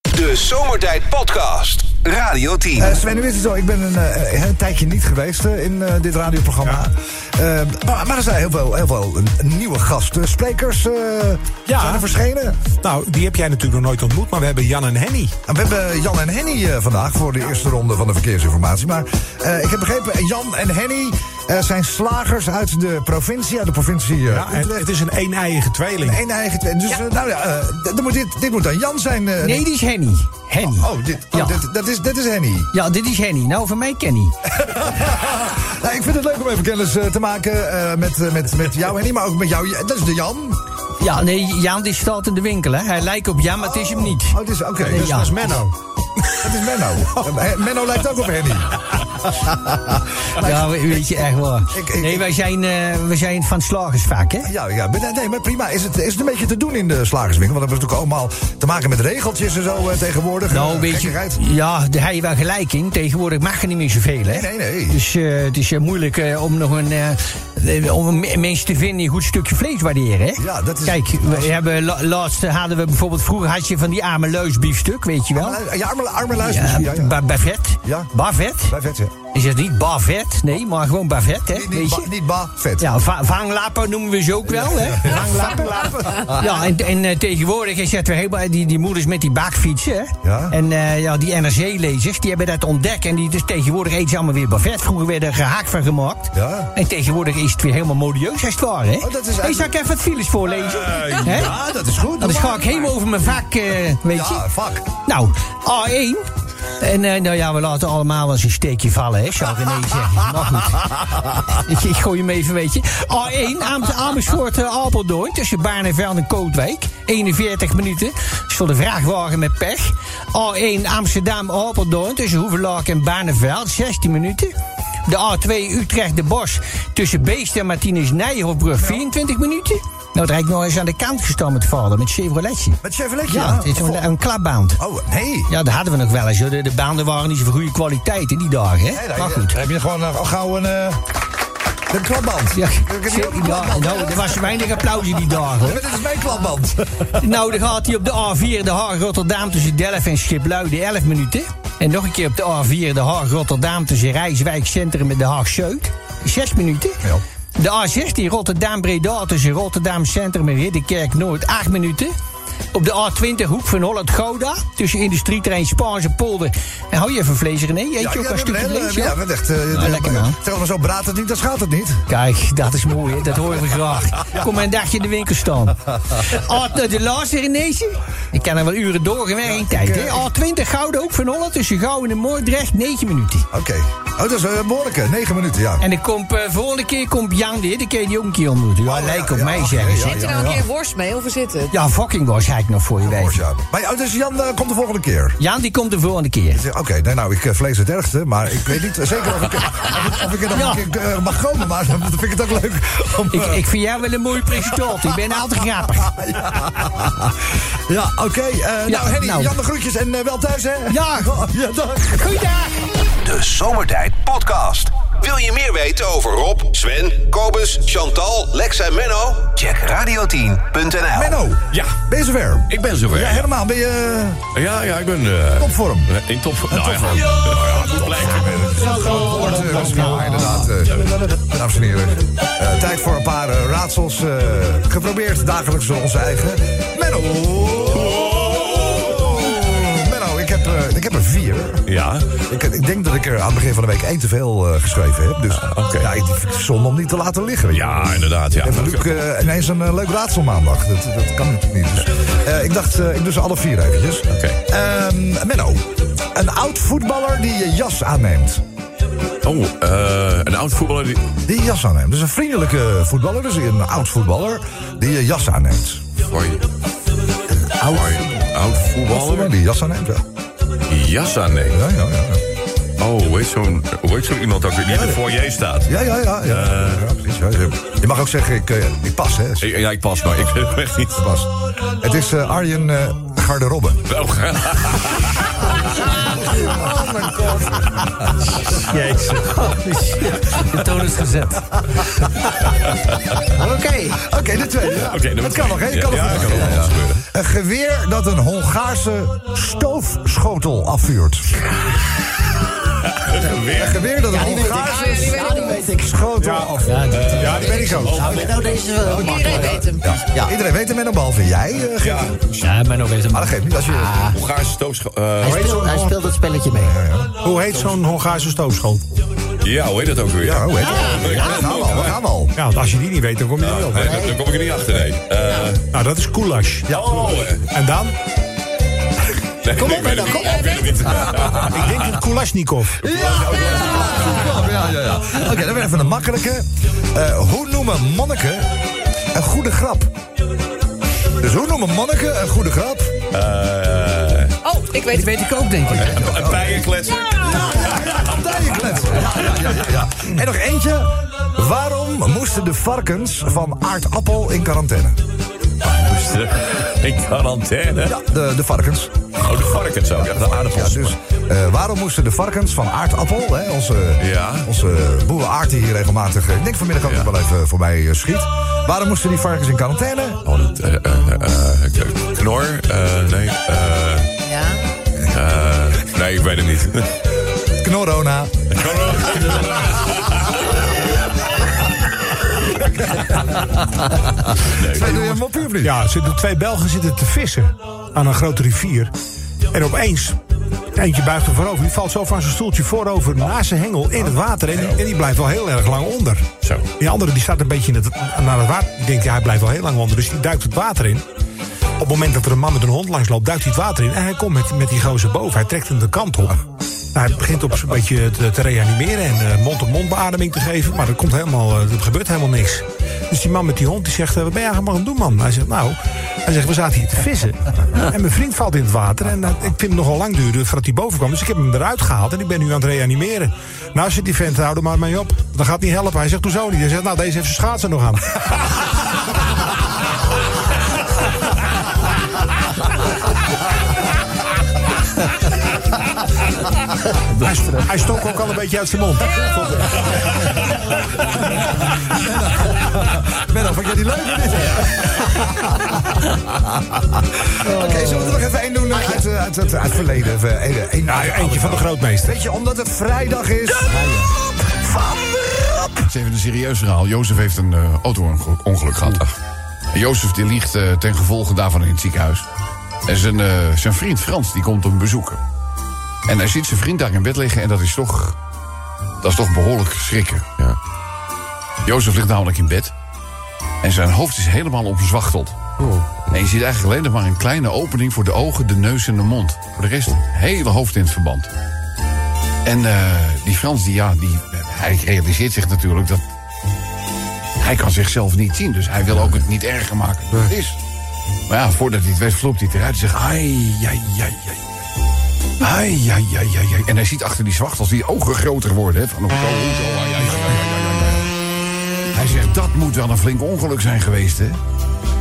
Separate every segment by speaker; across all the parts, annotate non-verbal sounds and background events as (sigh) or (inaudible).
Speaker 1: De Zomertijd Podcast. Radio 10.
Speaker 2: Eh, Sven, nu is het zo. Ik ben een, eh, een tijdje niet geweest eh, in eh, dit radioprogramma. Eh, maar, maar er zijn heel veel, heel veel nieuwe gasten. Sprekers eh,
Speaker 3: Ja.
Speaker 2: zijn er verschenen.
Speaker 3: Nou, die heb jij natuurlijk nog nooit ontmoet, maar we hebben Jan en Henny.
Speaker 2: En we hebben Jan en Henny eh, vandaag voor de eerste ronde van de verkeersinformatie. Maar eh, ik heb begrepen, eh, Jan en Henny eh, zijn slagers uit de provincie. Uit de provincie eh,
Speaker 3: Ja, en
Speaker 2: Utrecht.
Speaker 3: het is een een-eiige tweeling.
Speaker 2: Eén eigen twee. Dus eh, nou ja, eh, d- dan moet dit, dit moet dan Jan zijn. eh,
Speaker 4: Nee, die is Henny. Henny.
Speaker 2: Oh, dit, oh,
Speaker 4: Ja.
Speaker 2: dit- dat, is, dat is Henny.
Speaker 4: Ja, dit is Henny. Nou, voor mij
Speaker 2: (laughs)
Speaker 4: Kenny.
Speaker 2: Nou, ik vind het leuk om even kennis eh, te maken eh, met, eh, met, met jou, Henny, maar ook met jou. Ja, Dat is de Jan.
Speaker 4: Ja, nee, Jaan die staat in de winkel, hè. Hij lijkt op Jan, maar het is hem niet.
Speaker 2: Oh, het is oké.
Speaker 4: Nee,
Speaker 2: Dus
Speaker 4: Jan.
Speaker 3: Dat is
Speaker 2: (laughs)
Speaker 3: Menno.
Speaker 2: Dat is Menno. Eh, Menno lijkt ook op
Speaker 4: (laughs)
Speaker 2: Henny.
Speaker 4: Ja, we- weet je, echt waar.
Speaker 2: Ik- ik-
Speaker 4: Nee, wij zijn, eh, we zijn van het slagersvak, hè.
Speaker 2: Ja, ja maar, nee, maar prima. Is het, is het een beetje te doen in de slagerswinkel? Want dat hebben we natuurlijk allemaal te maken met regeltjes en zo eh, tegenwoordig.
Speaker 4: Nou,
Speaker 2: Eh,
Speaker 4: weet je,
Speaker 2: gekkigheid.
Speaker 4: ja, daar heb je wel gelijk in. Tegenwoordig mag er niet meer zoveel, hè?
Speaker 2: Nee, nee, nee.
Speaker 4: Dus eh, het is eh, moeilijk eh, om nog een, eh, eh, om een mens te vinden die een goed stukje vlees waarderen, hè?
Speaker 2: Ja, dat is-
Speaker 4: Kijk, we hebben, la- laatst hadden we bijvoorbeeld... Vroeger had je van die arme leusbiefstuk, weet je wel?
Speaker 2: Eh, Ja, arme, arme luisteraars. Ja, ja.
Speaker 4: ba- Bavet.
Speaker 2: Ja.
Speaker 4: Bavet.
Speaker 2: Bij vet, ja.
Speaker 4: Is het niet bavet? Nee, maar gewoon bavet, hè?
Speaker 2: Niet,
Speaker 4: weet
Speaker 2: niet, ba,
Speaker 4: je?
Speaker 2: niet ba, vet.
Speaker 4: Ja, va vanglappen noemen we ze ook wel, hè? Vanglappen.
Speaker 2: (laughs)
Speaker 4: Ja, en, en eh, tegenwoordig is dat weer helemaal... Die, die moeders met die bakfietsen, hè?
Speaker 2: Ja.
Speaker 4: En eh, ja, die NRC-lezers, die hebben dat ontdekt. En die, dus tegenwoordig eten ze allemaal weer bavet. Vroeger werd er gehaakt van gemaakt.
Speaker 2: Ja.
Speaker 4: En tegenwoordig is het weer helemaal modieus, als het ware, hè?
Speaker 2: Oh, dat is
Speaker 4: Hey, zal
Speaker 2: eigenlijk- Eh,
Speaker 4: ik even wat files voorlezen? Hè?
Speaker 2: Ja, dat is goed.
Speaker 4: Anders ga ik helemaal over mijn vak, eh, weet je.
Speaker 2: Ja, fuck.
Speaker 4: Nou, A1. En eh, nou ja, we laten allemaal wel eens een steekje vallen, hè, zou ik ineens zeggen. Maar goed. Ik, ik gooi hem even, weet je. A1, Am- Amersfoort, eh, Apeldoorn, tussen Barneveld en Kootwijk. 41 minuten. Dat is voor de vrachtwagen met pech. A1, Amsterdam, Apeldoorn, tussen Hoevelaak en Barneveld. 16 minuten. De A2, Utrecht, De Bosch, tussen Beest en Martinez Nijhoffbrug. 24 minuten. Nou, daar heb ik nog eens aan de kant gestaan met vader, met Chevroletje.
Speaker 2: Met Chevrolet,
Speaker 4: Ja, het is een, een klapband.
Speaker 2: Oh, nee.
Speaker 4: Ja, dat hadden we nog wel eens. hoor. De, de baanden waren niet zo van goede kwaliteit in die dagen. Hè?
Speaker 2: Nee, nee,
Speaker 4: maar goed.
Speaker 2: dan heb je gewoon eh, al gauw een. eh, een klapband.
Speaker 4: Ja,
Speaker 2: Ik heb hier ook een
Speaker 4: ja,
Speaker 2: klapband.
Speaker 4: nou, er was weinig applaus in die dagen.
Speaker 2: Maar
Speaker 4: hoor.
Speaker 2: Dit is mijn klapband.
Speaker 4: Nou, dan gaat hij op de A4 de Haag Rotterdam tussen Delft en Schiphol de 11 minuten. En nog een keer op de A4 de Haag Rotterdam tussen Rijswijk Centrum en de Haag Zuid. 6 minuten.
Speaker 2: Ja.
Speaker 4: De A16 Rotterdam Breda tussen Rotterdam Centrum en Ridderkerk Noord 8 minuten. Op de A20 Hoek van Holland Gouda tussen Industrietrein Spaanse Polder. En hou je even vlees René? Eet je ook wel een
Speaker 2: ja,
Speaker 4: stukje
Speaker 2: nee,
Speaker 4: vlees?
Speaker 2: ja,
Speaker 4: ja? Nou,
Speaker 2: wat echt. eh, de-
Speaker 4: lekker, man.
Speaker 2: Zeg maar zo braadt het niet, dan schaadt het niet.
Speaker 4: Kijk, dat is mooi, hè? dat horen we graag. Kom maar een dagje in de winkel staan. A- de laatste Renese. Ik kan er wel uren doorgewerkt tijd. hè. A20 Gouden ook van Holland tussen Gouwen en Moordrecht, 9 minuten.
Speaker 2: Oké. Oh, dat is eh, een behoorlijke. 9 minuten, ja.
Speaker 4: En de komt, eh, volgende keer komt Jan de Hitte, keer die ook een keer ontmoeten. Ja,
Speaker 2: ja,
Speaker 4: lijkt op
Speaker 2: ja,
Speaker 4: mij,
Speaker 2: ja,
Speaker 4: zeggen ze.
Speaker 2: ja.
Speaker 5: Zit er nou een keer worst mee of is het? het?
Speaker 4: Ja, fucking was hij nog voor je
Speaker 2: Mooi,
Speaker 4: wijf.
Speaker 2: ja. Maar ja, dus Jan eh, komt de volgende keer.
Speaker 4: Jan, die komt de volgende keer.
Speaker 2: Ik zeg, Oké, nee, nou, ik eh, vlees het ergste, maar ik weet niet eh, zeker of ik, of ik, of ik er nog
Speaker 4: Ja.
Speaker 2: een keer eh, mag komen. Maar (laughs) dan vind ik het ook leuk om...
Speaker 4: Ik,
Speaker 2: eh,
Speaker 4: ik vind jou wel een mooie presentator. Ik ben altijd grappig.
Speaker 2: (laughs) Ja, oké. eh, nou, Henny,
Speaker 4: nou.
Speaker 2: Jan de groetjes en eh, wel thuis, hè? (laughs)
Speaker 4: Ja,
Speaker 2: Ja, dag.
Speaker 4: goeiedag.
Speaker 1: De Zomertijd Podcast. Wil je meer weten over Rob, Sven, Kobus, Chantal, Lex en Menno? Check radio10.nl.
Speaker 2: Menno,
Speaker 6: Ja.
Speaker 2: ben je zover?
Speaker 6: Ik ben zover.
Speaker 2: Ja,
Speaker 6: Ja,
Speaker 2: helemaal, ben je
Speaker 6: ja, ik ben... eh,
Speaker 2: topvorm?
Speaker 6: in topvorm. Nou, ja, nou ja, goed blijken.
Speaker 2: Wordt, eh, wordt nou, inderdaad, eh, dames en heren. Eh, tijd voor een paar eh, raadsels. eh, geprobeerd dagelijks door onze eigen. Menno! Menno, ik heb, eh, ik heb er vier.
Speaker 6: Ja,
Speaker 2: Ik, ik denk dat ik er aan het begin van de week één te veel eh, geschreven heb. Dus ja, ik vind het zonde om niet te laten liggen. weet je.
Speaker 6: Ah, ja, inderdaad. Ja.
Speaker 2: Even Luc eh, ineens een eh, leuk raadsel maandag. Dat, dat kan natuurlijk niet. Dus, eh, ik dacht, eh, ik doe ze alle vier eventjes.
Speaker 6: Oké.
Speaker 2: Ehm, Menno, een oud voetballer die je jas aanneemt.
Speaker 6: Oh, eh, een oud voetballer die...
Speaker 2: Die jas aanneemt. Dus een vriendelijke voetballer, dus een oud voetballer die je jas aanneemt.
Speaker 6: Hoi. Oud, oud
Speaker 2: Voetballer
Speaker 6: voetballer
Speaker 2: die je jas aanneemt, ja.
Speaker 6: die jas aanneemt.
Speaker 2: Ja, ja, ja.
Speaker 6: Oh, hoe heet zo'n hoe heet zo'n iemand ook weer die in de foyer staat?
Speaker 2: Ja, ja, ja. ja, ja, ja, precies, ja, ja. Je mag ook zeggen, ik, eh, ik pas, hè. Ik
Speaker 6: Eh. Ik- Ja, ik pas, maar ik weet het echt niet.
Speaker 2: pas. Het is eh, Arjen eh Garderobbe.
Speaker 6: (laughs) Oh,
Speaker 4: De toon is gezet. Oké.
Speaker 2: Oké, de tweede.
Speaker 6: Oké, nummer
Speaker 2: het kan
Speaker 6: twee.
Speaker 2: nog, hè?
Speaker 6: Ja,
Speaker 2: Het kan nog.
Speaker 6: ja,
Speaker 2: Het
Speaker 6: kan nog alles gebeuren.
Speaker 2: Een geweer dat een Hongaarse stoofschotel afvuurt. Een geweer dat een
Speaker 7: die weet ik.
Speaker 2: Hongaarse
Speaker 5: Ah, ja, die weet ik ook.
Speaker 2: stoofschotel afvuurt.
Speaker 3: Ja, die weet ik ook.
Speaker 6: Oh,
Speaker 7: Nou, nou, deze is wel
Speaker 5: Iedereen weet hem.
Speaker 7: Ja.
Speaker 2: Iedereen weet hem en dan behalve jij. eh, Gerrie.
Speaker 6: Ja,
Speaker 4: Ja, ben ook even.
Speaker 2: Maar dat geeft niet. Als je,
Speaker 6: Hongaarse stoofschool. eh,
Speaker 7: Hij speelt, hij speelt het spelletje mee.
Speaker 3: Hoe heet zo'n Hongaarse stoofschool?
Speaker 6: ja, hoe heet dat ook weer?
Speaker 2: ja, Nou, hoe heet het?
Speaker 6: Ja,
Speaker 2: Ja, we gaan al, we gaan al.
Speaker 3: Ja, want als je die niet weet, dan kom je er niet op.
Speaker 6: Nee, daar- daar kom ik er niet achter, nee. Eh,
Speaker 3: Nou, dat is goulash.
Speaker 6: oh, eh,
Speaker 3: En dan?
Speaker 6: nee, kom op,
Speaker 7: dan, kom op.
Speaker 6: Ik weet het niet.
Speaker 3: Ik denk een Kulashnikov.
Speaker 2: Ja, ja, ja. ja. Oké, dan weer even een makkelijke. Eh, hoe noemen monniken een goede grap? Dus hoe noemen monniken een goede grap?
Speaker 6: Eh,
Speaker 5: Oh, ik weet
Speaker 4: Dat
Speaker 5: het.
Speaker 4: weet ik ook, denk ik.
Speaker 6: Een bijenkletser.
Speaker 2: Ja, ja, ja, bijenklets. Ja, ja, ja, ja, ja. En nog eentje. Waarom moesten de varkens van aardappel in quarantaine?
Speaker 6: (laughs) In quarantaine.
Speaker 2: Ja, de, de varkens.
Speaker 6: Oh, de varkens ook. Ja, de
Speaker 2: Ja,
Speaker 6: aardappels.
Speaker 2: dus eh, waarom moesten de varkens van aardappel, hè, onze,
Speaker 6: Ja.
Speaker 2: onze boeren aard die hier regelmatig, eh, ik denk vanmiddag ook nog wel even voorbij eh, schiet. Waarom moesten die varkens in quarantaine?
Speaker 6: Oh, dat, eh, eh, eh, k- knor? Eh, nee. eh,
Speaker 5: Ja.
Speaker 6: eh, nee, ik weet het niet. (laughs)
Speaker 2: Knorrona. Twee, doe je een moppie of niet?
Speaker 3: Ja, er zitten twee Belgen zitten te vissen aan een grote rivier. En opeens, eentje buigt er voorover. Die valt zo van zijn stoeltje voorover naast zijn hengel in het water. En die, en die blijft wel heel erg lang onder.
Speaker 6: Zo.
Speaker 3: Die andere die staat een beetje in het, naar het water. Die denkt, ja, hij blijft wel heel lang onder. Dus die duikt het water in. Op het moment dat er een man met een hond langs loopt, duikt hij het water in. En hij komt met, met die gozer boven. Hij trekt hem de kant op. Nou, hij begint op een beetje te, te reanimeren en eh, mond-op-mond beademing te geven. Maar er, komt helemaal, eh, er gebeurt helemaal niks. Dus die man met die hond die zegt, eh, wat ben je eigenlijk aan het doen, man? Hij zegt, nou, hij zegt, we zaten hier te vissen. En mijn vriend valt in het water. En dat- ik vind het nogal lang duren voordat hij boven kwam. Dus ik heb hem eruit gehaald en ik ben nu aan het reanimeren. Nou, zit die vent, hou er maar mee op. Dat gaat niet helpen. Hij zegt, hoezo niet? Hij zegt, nou, deze heeft zijn schaatsen nog aan. Hij, st- hij stonk ook al een beetje uit zijn mond.
Speaker 2: Menno, vond jij die leuk of niet? (laughs) Oké, zullen we er nog even één doen uit, eh, uit, uit, uit het verleden? Even één- één-
Speaker 3: Nou, eentje van de grootmeester.
Speaker 2: Weet je, omdat het vrijdag is... Van de Rap!
Speaker 8: Het is even een serieus verhaal. Jozef heeft een eh, auto-ongeluk gehad. En Jozef die ligt eh, ten gevolge daarvan in het ziekenhuis. En zijn, eh, zijn vriend Frans die komt hem bezoeken. En hij ziet zijn vriend daar in bed liggen en dat is toch, dat is toch behoorlijk schrikken.
Speaker 6: Ja.
Speaker 8: Jozef ligt namelijk in bed. En zijn hoofd is helemaal omzwachteld. En je ziet eigenlijk alleen nog maar een kleine opening voor de ogen, de neus en de mond. Voor de rest, het hele hoofd in het verband. En eh, die Frans, die, ja, die, hij realiseert zich natuurlijk dat... Hij kan zichzelf niet zien, dus hij wil ook het niet erger maken dan het is. Maar ja, voordat hij het weet, vloept hij het eruit en zegt... Ai, ai, ai, ai. Ai, ai, ai, ai, ai. En hij ziet achter die zwachtels die ogen groter worden. Hè, van oh, zo, zo, ai, ai, ai, ai, ai, ai. Hij zegt, dat moet wel een flink ongeluk zijn geweest, hè?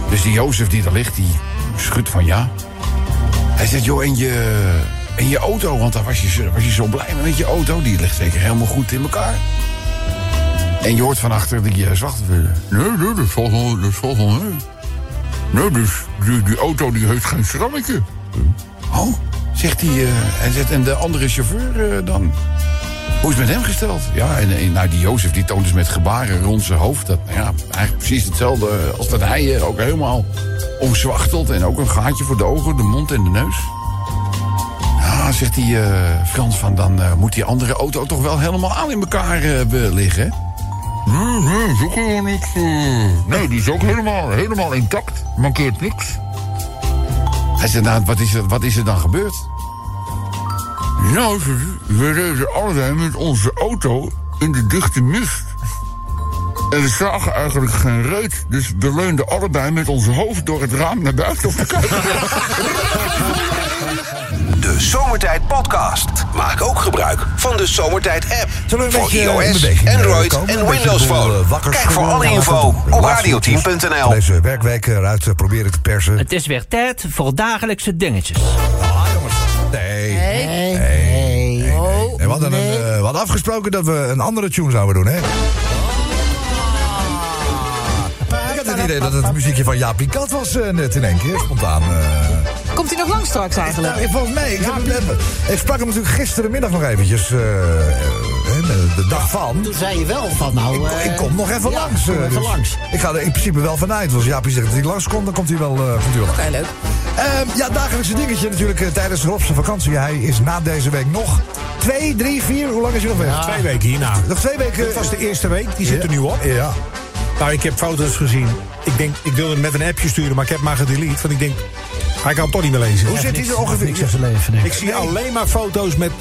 Speaker 8: Dus die Jozef die daar ligt, die schudt van ja. Hij zegt, joh, en je, en je auto, want daar was je, zo- was je zo blij mee met je auto. Die ligt zeker helemaal goed in elkaar. En je hoort van achter die uh, Nee, nee, dat valt wel, dat valt wel mee. Nee, dus die, die auto die heeft geen schrammetje. Oh, zegt hij. eh, hij zegt, en de andere chauffeur eh, dan? Hoe is het met hem gesteld? Ja, en, en nou, die Jozef die toont dus met gebaren rond zijn hoofd. Dat, nou ja, eigenlijk precies hetzelfde als dat hij eh, ook helemaal omzwachtelt. En ook een gaatje voor de ogen, de mond en de neus. Ja, zegt die eh, Frans van, dan eh, moet die andere auto toch wel helemaal aan in elkaar eh, liggen.
Speaker 9: Nee, nee, is ook helemaal niks. eh, nee, die is ook helemaal, helemaal intact. Mankeert niks.
Speaker 8: Hij zegt, nou, wat is er, wat is er dan gebeurd?
Speaker 9: Nou, ze- we reden allebei met onze auto in de dichte mist. En we zagen eigenlijk geen reet, dus we leunden allebei met ons hoofd door het raam naar buiten op de kant.
Speaker 1: De Zomertijd Podcast. Maak ook gebruik van de Zomertijd app.
Speaker 2: Zullen we een
Speaker 1: voor
Speaker 2: beetje in
Speaker 1: iOS,
Speaker 2: beweging, eh,
Speaker 1: Android
Speaker 2: komen? Een
Speaker 1: en
Speaker 2: beetje
Speaker 1: Windows
Speaker 2: de boel,
Speaker 1: Phone.
Speaker 2: eh, wakker
Speaker 1: Kijk voor
Speaker 2: schudden.
Speaker 1: alle
Speaker 2: Ja,
Speaker 1: info
Speaker 2: laten we
Speaker 1: op
Speaker 2: laatste van
Speaker 1: radioteam.nl.
Speaker 2: Deze werkweek eruit eh, proberen te persen.
Speaker 10: Het is weer tijd voor dagelijkse dingetjes.
Speaker 2: Ah, jongens. Nee. Nee.
Speaker 7: Nee, nee,
Speaker 5: Oh,
Speaker 2: nee. We, hadden een, eh, we hadden afgesproken dat we een andere tune zouden doen, hè? Ik had het idee dat het het muziekje van Jaapie Kat was eh, net in één keer, spontaan. eh.
Speaker 5: Komt hij nog lang straks eigenlijk?
Speaker 2: Nou, ik- volgens mij, ik, heb hem net- ik sprak hem natuurlijk gisterenmiddag nog eventjes, eh, eh, de dag van.
Speaker 7: Toen zei je wel van nou...
Speaker 2: Ik,
Speaker 7: eh,
Speaker 2: ik kom nog even
Speaker 7: ja,
Speaker 2: langs.
Speaker 7: kom
Speaker 2: eh,
Speaker 7: even
Speaker 2: dus
Speaker 7: langs.
Speaker 2: Ik ga er in principe wel vanuit. Als Jaapie zegt dat hij langskomt, dan komt hij wel, eh komt hij wel langs.
Speaker 5: Ja, leuk.
Speaker 2: Ehm, ja, dagelijkse dingetje natuurlijk eh, tijdens Rob's vakantie. Hij is na deze week nog twee, drie, vier. Hoe lang is hij nog weg?
Speaker 3: Twee weken hierna.
Speaker 2: Nog twee weken. eh,
Speaker 3: Dit was de eerste week, die zit er nu op.
Speaker 2: Ja.
Speaker 3: Nou, ik heb foto's gezien. Ik denk, ik wilde hem met een appje sturen, maar ik heb maar gedelete. Want ik denk, hij kan het toch niet meer lezen.
Speaker 2: Hoe zit hij er ongeveer?
Speaker 7: Niks aan zijn leven, nee.
Speaker 3: Ik zie alleen maar foto's met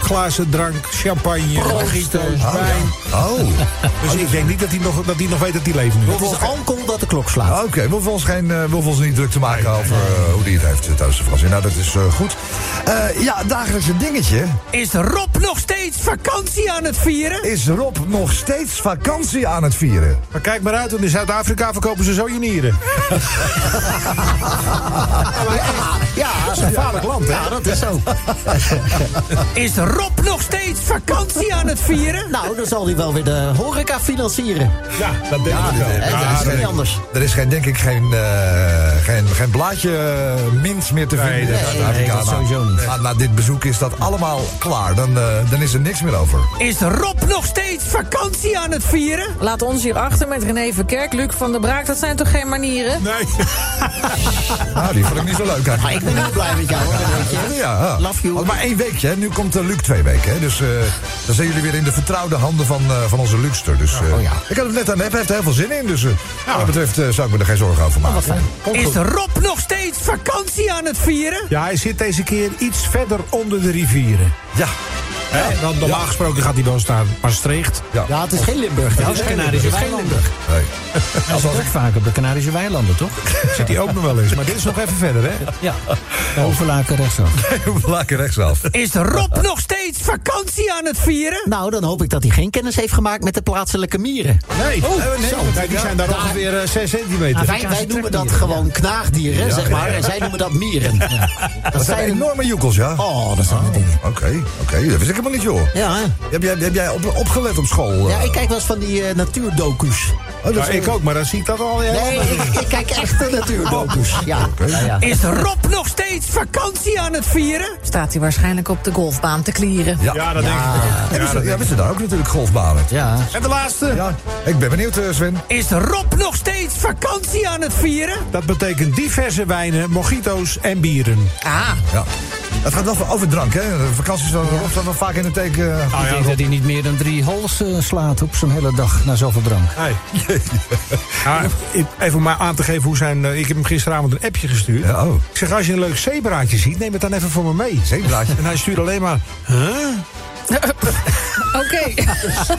Speaker 3: glazen drank, champagne, gieters,
Speaker 2: Oh,
Speaker 3: wijn.
Speaker 2: ja. oh.
Speaker 3: (laughs) Dus ik denk niet dat hij nog, dat hij nog weet dat hij leeft nu.
Speaker 7: Het is alcohol dat de klok slaat.
Speaker 2: Oké, we hoeven ons, geen, eh, we hoeven ons niet druk te maken over eh, hoe die het heeft eh, tijdens de vakantie. Nou, dat is eh, goed. Eh, ja, dagelijks een dingetje.
Speaker 10: Is Rob nog steeds vakantie aan het vieren?
Speaker 2: Is Rob nog steeds vakantie aan het vieren?
Speaker 3: Maar kijk maar uit, want in Zuid-Afrika verkopen ze zo je nieren.
Speaker 7: Ja, dat is een gevaarlijk land, hè? Ja, dat is
Speaker 4: (laughs)
Speaker 7: zo.
Speaker 10: Is Rob nog steeds vakantie aan het vieren?
Speaker 7: Nou, dan zal hij wel weer de horeca financieren.
Speaker 3: Ja, dat denk ik wel.
Speaker 7: Hè,
Speaker 3: Ja,
Speaker 7: dat is
Speaker 2: dat-
Speaker 7: niet anders.
Speaker 2: Er is geen, denk ik geen, eh, geen, geen blaadje eh, mint meer te
Speaker 3: Nee,
Speaker 2: vinden. in
Speaker 3: dat-
Speaker 2: Zuid-Afrika.
Speaker 7: nee, dat
Speaker 2: Na-
Speaker 7: sowieso niet.
Speaker 2: Na, na dit bezoek is dat allemaal klaar. Dan, eh, dan is er niks meer over.
Speaker 10: Is Rob nog steeds vakantie aan het vieren?
Speaker 5: Laat ons hier achter met René Verkerk, Luc van der Braak. Dat zijn toch geen manieren?
Speaker 3: Nee.
Speaker 2: Nou, die vond ik niet zo leuk
Speaker 7: Maar
Speaker 2: eigenlijk.
Speaker 7: ik ben heel blij met jou, hoor. dat weet
Speaker 2: Ja,
Speaker 7: je.
Speaker 2: ja.
Speaker 7: Ah, Love you.
Speaker 2: Had Maar één weekje, hè. nu komt eh, Luc twee weken. Hè. Dus eh, dan zijn jullie weer in de vertrouwde handen van, eh, van onze Luxter. Dus, eh,
Speaker 7: oh ja.
Speaker 2: Ik had het net aan hem, hij heeft er heel veel zin in. Dus eh, wat dat betreft eh, zou ik me er geen zorgen
Speaker 7: Oh,
Speaker 2: over maken. Komt
Speaker 10: Is
Speaker 2: goed.
Speaker 10: Rob nog steeds vakantie aan het vieren?
Speaker 3: Ja, hij zit deze keer iets verder onder de rivieren.
Speaker 2: Ja,
Speaker 3: Hè? Dan, normaal gesproken gaat hij wel eens naar Maastricht.
Speaker 7: Ja, het is geen Limburg. dit.
Speaker 10: Dat is Canarische weilanden.
Speaker 2: nee.
Speaker 7: (laughs) Dat was ik vaak op de Canarische weilanden, toch?
Speaker 3: Zit hij ook nog wel eens. Maar dit is nog even verder, hè?
Speaker 7: Ja. Oh. Overlaken rechtsaf.
Speaker 2: we laken rechtsaf.
Speaker 10: Is Rob nog steeds vakantie aan het vieren?
Speaker 7: Nou, dan hoop ik dat hij geen kennis heeft gemaakt met de plaatselijke mieren.
Speaker 3: Nee, nee, want die zijn Oh, daar
Speaker 7: Daar-
Speaker 3: ongeveer eh, 6 centimeter.
Speaker 7: wij, wij noemen dat gewoon knaagdieren, zeg maar. En zij noemen dat mieren. Dat
Speaker 2: Dat zijn
Speaker 7: zijn een...
Speaker 2: enorme joekels, ja.
Speaker 7: Oh, dat zijn de dingen.
Speaker 2: Oké, oké. Dat wist ik helemaal niet, joh.
Speaker 7: Ja, hè?
Speaker 2: Heb jij, heb jij op, opgelet op school? eh?
Speaker 7: ja, ik kijk wel eens van die eh, natuurdocu's.
Speaker 2: Oh, dat
Speaker 3: Ja,
Speaker 2: is-
Speaker 3: ik ook, maar dan zie ik dat al. heel
Speaker 7: Nee,
Speaker 3: anders.
Speaker 7: ik, ik kijk echt de natuurdocu's. Ja, ja, ja.
Speaker 10: Is Rob nog steeds vakantie aan het vieren?
Speaker 5: Staat hij waarschijnlijk op de golfbaan te klieren.
Speaker 2: Ja,
Speaker 3: Ja, dat denk ik ook. Ja, dat
Speaker 2: Hebben ze- ja,
Speaker 3: denk ik.
Speaker 2: hebben ze daar ook natuurlijk golfbanen?
Speaker 7: Ja.
Speaker 3: En de laatste.
Speaker 2: Ja, ik ben benieuwd, eh, Sven.
Speaker 10: Is Rob nog steeds vakantie aan het vieren?
Speaker 3: Dat betekent diverse wijnen, mojito's en bieren.
Speaker 5: Ah,
Speaker 2: Ja. Het gaat wel over- over drank, hè? De vakanties van Rob staan wel vaak in het teken. eh,
Speaker 10: Ah,
Speaker 3: Nou
Speaker 4: Ik denk dat hij niet meer dan drie hols eh, slaat op zo'n hele dag na zoveel drank.
Speaker 2: (laughs)
Speaker 3: Nee. Ja, ik- even om maar aan te geven hoe zijn... eh, Ik heb hem gisteravond een appje gestuurd.
Speaker 2: Ja, oh.
Speaker 3: Ik zeg, als je een leuk zeebraadje ziet, neem het dan even voor me mee.
Speaker 2: Zeebraadje?
Speaker 3: En hij stuurt alleen maar... Huh?
Speaker 5: Ah, oké.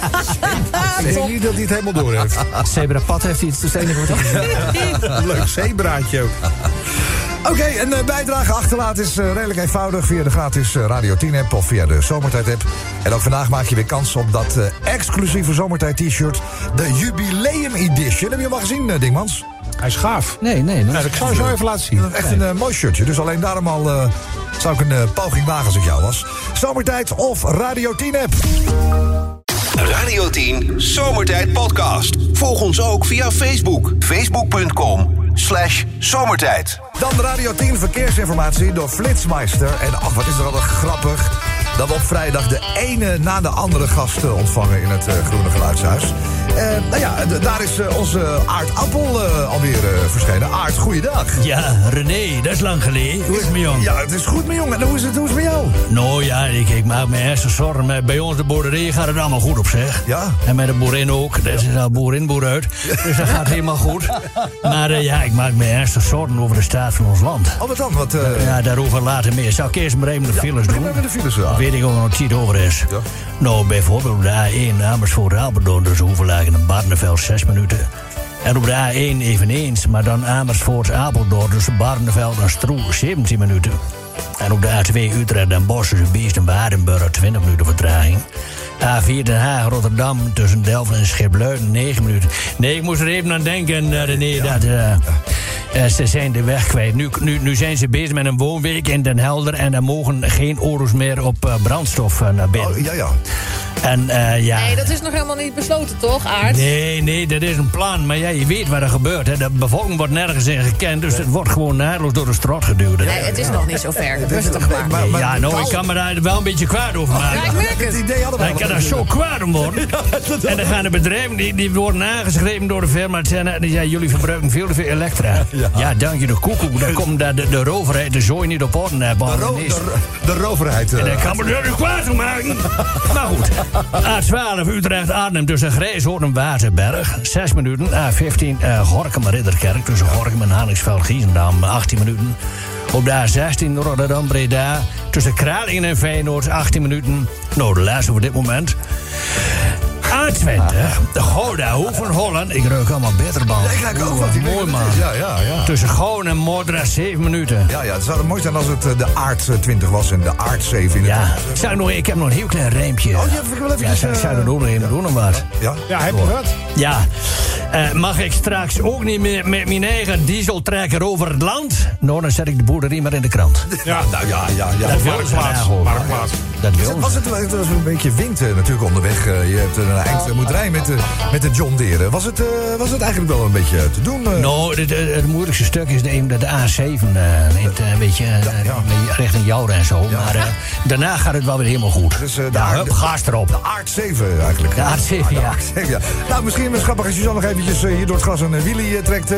Speaker 5: (laughs)
Speaker 3: Ik denk niet dat hij het helemaal door
Speaker 2: (laughs)
Speaker 3: heeft.
Speaker 10: Ah.
Speaker 4: Zebra Pad heeft iets, dat is het enige wat
Speaker 10: (laughs)
Speaker 4: hij gezegd heeft.
Speaker 3: Een leuk zeebraadje ook.
Speaker 2: Oké, een eh, bijdrage achterlaten is eh, redelijk eenvoudig via de gratis eh, Radio 10 app of via de Zomertijd app. En ook vandaag maak je weer kans op dat eh, exclusieve Zomertijd t-shirt, de Jubileum Edition. Heb je hem al gezien, eh, Dingmans?
Speaker 3: Hij is gaaf.
Speaker 4: Nee, nee.
Speaker 3: Nou,
Speaker 4: Nou,
Speaker 3: ik zou je zo even laten zien.
Speaker 2: Echt een eh, mooi shirtje, dus alleen daarom al eh, zou ik een eh, poging wagen als ik jou was. Zomertijd of Radio 10 app.
Speaker 1: Radio 10 Zomertijd Podcast. Volg ons ook via Facebook. Facebook.com slash zomertijd.
Speaker 2: Dan Radio 10 verkeersinformatie door Flitsmeister. En ach, wat is er altijd grappig dat we op vrijdag de ene na de andere gasten ontvangen in het eh, Groene Geluidshuis. Eh, nou ja, d- daar is eh, onze Aard Appel eh, alweer eh, verschenen. Aard, goeiedag.
Speaker 10: Ja, René, dat is lang geleden. Hoe is het met jou?
Speaker 2: Ja, het is goed, mijn jongen. En hoe is het, hoe is het met jou?
Speaker 10: Nou ja, ik, ik maak me ernstig zorgen. Maar Bij ons de boerderij gaat het allemaal goed op zich.
Speaker 2: Ja.
Speaker 10: En met de boerin ook. Dat is al boer in, boer uit. Dus dat gaat helemaal
Speaker 2: (laughs)
Speaker 10: goed. Maar eh, ja, ik maak me ernstig zorgen over de staat van ons land.
Speaker 2: Oh, wat dan? Wat, eh,
Speaker 10: Ja, daarover later meer. Zou ik eerst maar even de files
Speaker 2: begin
Speaker 10: doen?
Speaker 2: maar met de files, ja.
Speaker 10: Dan Weet ik ook nog niet over is.
Speaker 2: Ja.
Speaker 10: Nou, bijvoorbeeld op de A1 Amersfoort Apeldoorn dus Hoevelaken en Barneveld 6 minuten. En op de A1 eveneens, maar dan Amersfoort Apeldoorn tussen Barneveld en Stroe 17 minuten. En op de A2 Utrecht en Bosch tussen Beest en Waardenburg 20 minuten vertraging. A4 Den Haag, Rotterdam, tussen Delft en Schipluiden, 9 minuten. Nee, ik moest er even aan denken, eh, René, dat... eh, eh, ze zijn de weg kwijt. Nu, nu, nu zijn ze bezig met een woonweek in Den Helder... en er mogen geen euro's meer op eh, brandstof eh, naar binnen.
Speaker 2: oh, ja, ja.
Speaker 10: En eh, ja...
Speaker 5: Nee, dat is nog helemaal niet besloten, toch, Aard?
Speaker 10: Nee, nee, dat is een plan. Maar ja, je weet wat er gebeurt. Hè. De bevolking wordt nergens in gekend. Dus het wordt gewoon naadloos door de strot geduwd.
Speaker 5: Nee, het is nog niet zo ver. Rustig maar.
Speaker 10: ja, nou, ik kan me daar wel een beetje kwaad over maken.
Speaker 5: Ja, ik merk het.
Speaker 10: Maar ik kan daar zo kwaad om worden. en dan gaan de bedrijven, die, die worden aangeschreven door de firma. En zeggen, die zeggen, jullie verbruiken veel te veel elektra. Ja, dank je de koekoek. Dan komt daar de, de roverheid de zooi niet op orde hebben.
Speaker 2: De, ro- de, ro- de roverheid. eh.
Speaker 10: En dat kan me er kwaad om maken. maar goed, A12 Utrecht Arnhem tussen Grijshoorn en Waterberg. 6 minuten. A15 eh, Gorkum Ridderkerk tussen Gorkum en Halingsveld Giesendam. 18 minuten. Op de A16 Rotterdam Breda tussen Kralingen en Feyenoord. 18 minuten. Nou, de laatste voor dit moment. A20, Gouda, Hoeven, Holland. Ik ruik allemaal bitterballen.
Speaker 2: Ik ruik ook wat. Ik weet
Speaker 10: Mooi
Speaker 2: wat
Speaker 10: man.
Speaker 2: het is. Ja, ja, ja.
Speaker 10: Tussen Goon en Mordra 7 minuten.
Speaker 2: Ja, ja, het zou mooi zijn als het eh, de aard eh, 20 was en de aard 7 in
Speaker 10: Ja,
Speaker 2: het...
Speaker 10: zou ik nog, ik heb nog een heel klein rijmpje.
Speaker 2: Oh, je hebt wel even-
Speaker 10: ja, zou, zou er ook nog even doen of wat?
Speaker 2: Ja?
Speaker 3: Ja, heb je wat?
Speaker 10: Ja, Eh, mag ik straks ook niet meer met mijn eigen dieseltrekker over het land? Nou, dan zet ik de boerderie maar in de krant.
Speaker 3: Ja,
Speaker 2: Nou (laughs) ja, ja, ja.
Speaker 10: Dat wil ze
Speaker 3: Marktplaats.
Speaker 10: graag horen.
Speaker 3: Marktplaats.
Speaker 10: Dat wil
Speaker 2: Was
Speaker 10: ze.
Speaker 2: het, het was een beetje wind eh, natuurlijk onderweg. Eh, je hebt eh, naar eind eh, moet rijden met de, met de John Deere. Was het, eh, was het eigenlijk wel een beetje te doen? eh?
Speaker 10: Nou, het, het- het moeilijkste stuk is de, een- de A7, eh, in het, eh, een beetje eh,
Speaker 2: ja.
Speaker 10: richting Jouden en zo. Maar eh, daarna gaat het wel weer helemaal goed.
Speaker 2: Dus, eh, de
Speaker 10: ja,
Speaker 2: aard-
Speaker 10: hup, gas
Speaker 2: De
Speaker 10: erop.
Speaker 2: aard 7 eigenlijk. (laughs)
Speaker 10: De A7,
Speaker 2: Ja,
Speaker 10: ja.
Speaker 2: aard 7, ja. Nou, misschien is het grappig als je zo nog eventjes eh, hier door het gras een eh, wielie eh, trekt. eh.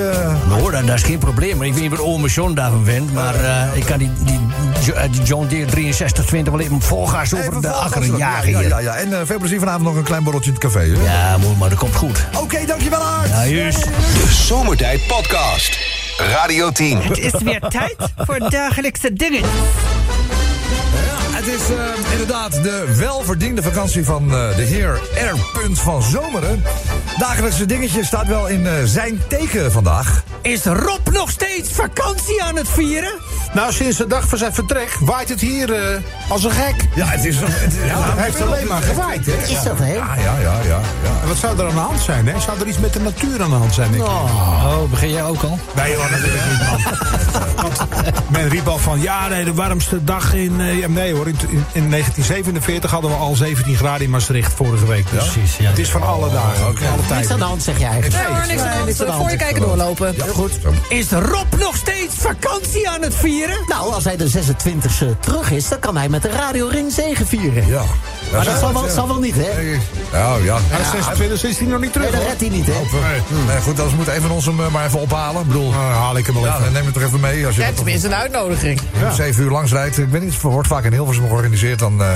Speaker 10: Nou, dat, dat is geen probleem. Ik weet niet wat ome John daarvan vindt, maar eh, ik kan die, die, Jo- eh, die John Deere 6320 wel even vol gas over
Speaker 2: Even
Speaker 10: de
Speaker 2: vol
Speaker 10: akker
Speaker 2: gas erop.
Speaker 10: jagen
Speaker 2: Ja,
Speaker 10: hier.
Speaker 2: ja, ja. En eh, veel plezier vanavond nog een klein borreltje in het café. hè?
Speaker 10: Ja, mooi, maar dat komt goed.
Speaker 2: Oké, dankjewel Aard.
Speaker 10: Ja, juist.
Speaker 1: De Zomertijd Podcast. Radio 10.
Speaker 11: Het is weer tijd voor dagelijkse dingen.
Speaker 2: Ja, het is eh, inderdaad de welverdiende vakantie van eh, de heer R. van Zomeren. Dagelijkse dingetje staat wel in eh, zijn teken vandaag.
Speaker 11: Is Rob nog steeds vakantie aan het vieren?
Speaker 12: Nou, sinds de dag van zijn vertrek waait het hier eh, als een gek.
Speaker 2: Ja, het is...
Speaker 12: Hij heeft alleen maar gewaaid, hè?
Speaker 7: Is dat, hè?
Speaker 2: Ja, ja, ja, ja. ja.
Speaker 3: En Wat zou er aan de hand zijn, hè? Zou er iets met de natuur aan de hand zijn? denk
Speaker 4: Nou.
Speaker 3: ik?
Speaker 10: Oh, begin jij ook al?
Speaker 3: Nee hoor, natuurlijk niet, man. Want men riep al van, ja, nee, de warmste dag in... eh, ja, nee hoor, in, in- in 1947 hadden we al 17 graden in Maastricht vorige week. Oh, Dus
Speaker 10: Precies, ja.
Speaker 3: Het is van alle dagen, alle
Speaker 7: Niks aan
Speaker 3: tijden.
Speaker 7: de hand, zeg
Speaker 5: Nee
Speaker 7: jij.
Speaker 5: hoor, niks aan de hand. Voor je kijken doorlopen.
Speaker 2: Heel goed.
Speaker 11: Is Rob nog steeds vakantie aan het vieren?
Speaker 7: Nou, als hij de 26e terug is, dan kan hij met de Radio Ring zegen vieren.
Speaker 2: Ja.
Speaker 7: Maar dat zal wel, zal wel niet, hè? Nee,
Speaker 2: Ja, ja.
Speaker 3: Hij is 26, is hij nog niet terug,
Speaker 7: dat
Speaker 3: hoor.
Speaker 7: redt hij niet, hè?
Speaker 2: Nee, goed, anders moet een van ons hem eh, maar even ophalen. Ik bedoel,
Speaker 3: Nou, haal ik hem wel
Speaker 2: ja,
Speaker 3: even.
Speaker 2: dan neem het toch even mee. Als je
Speaker 5: Ja,
Speaker 2: dat
Speaker 5: tenminste, een uitnodiging.
Speaker 2: om zeven uur langs rijdt. Ik weet niet, het wordt vaak in Hilversum georganiseerd. Dan, eh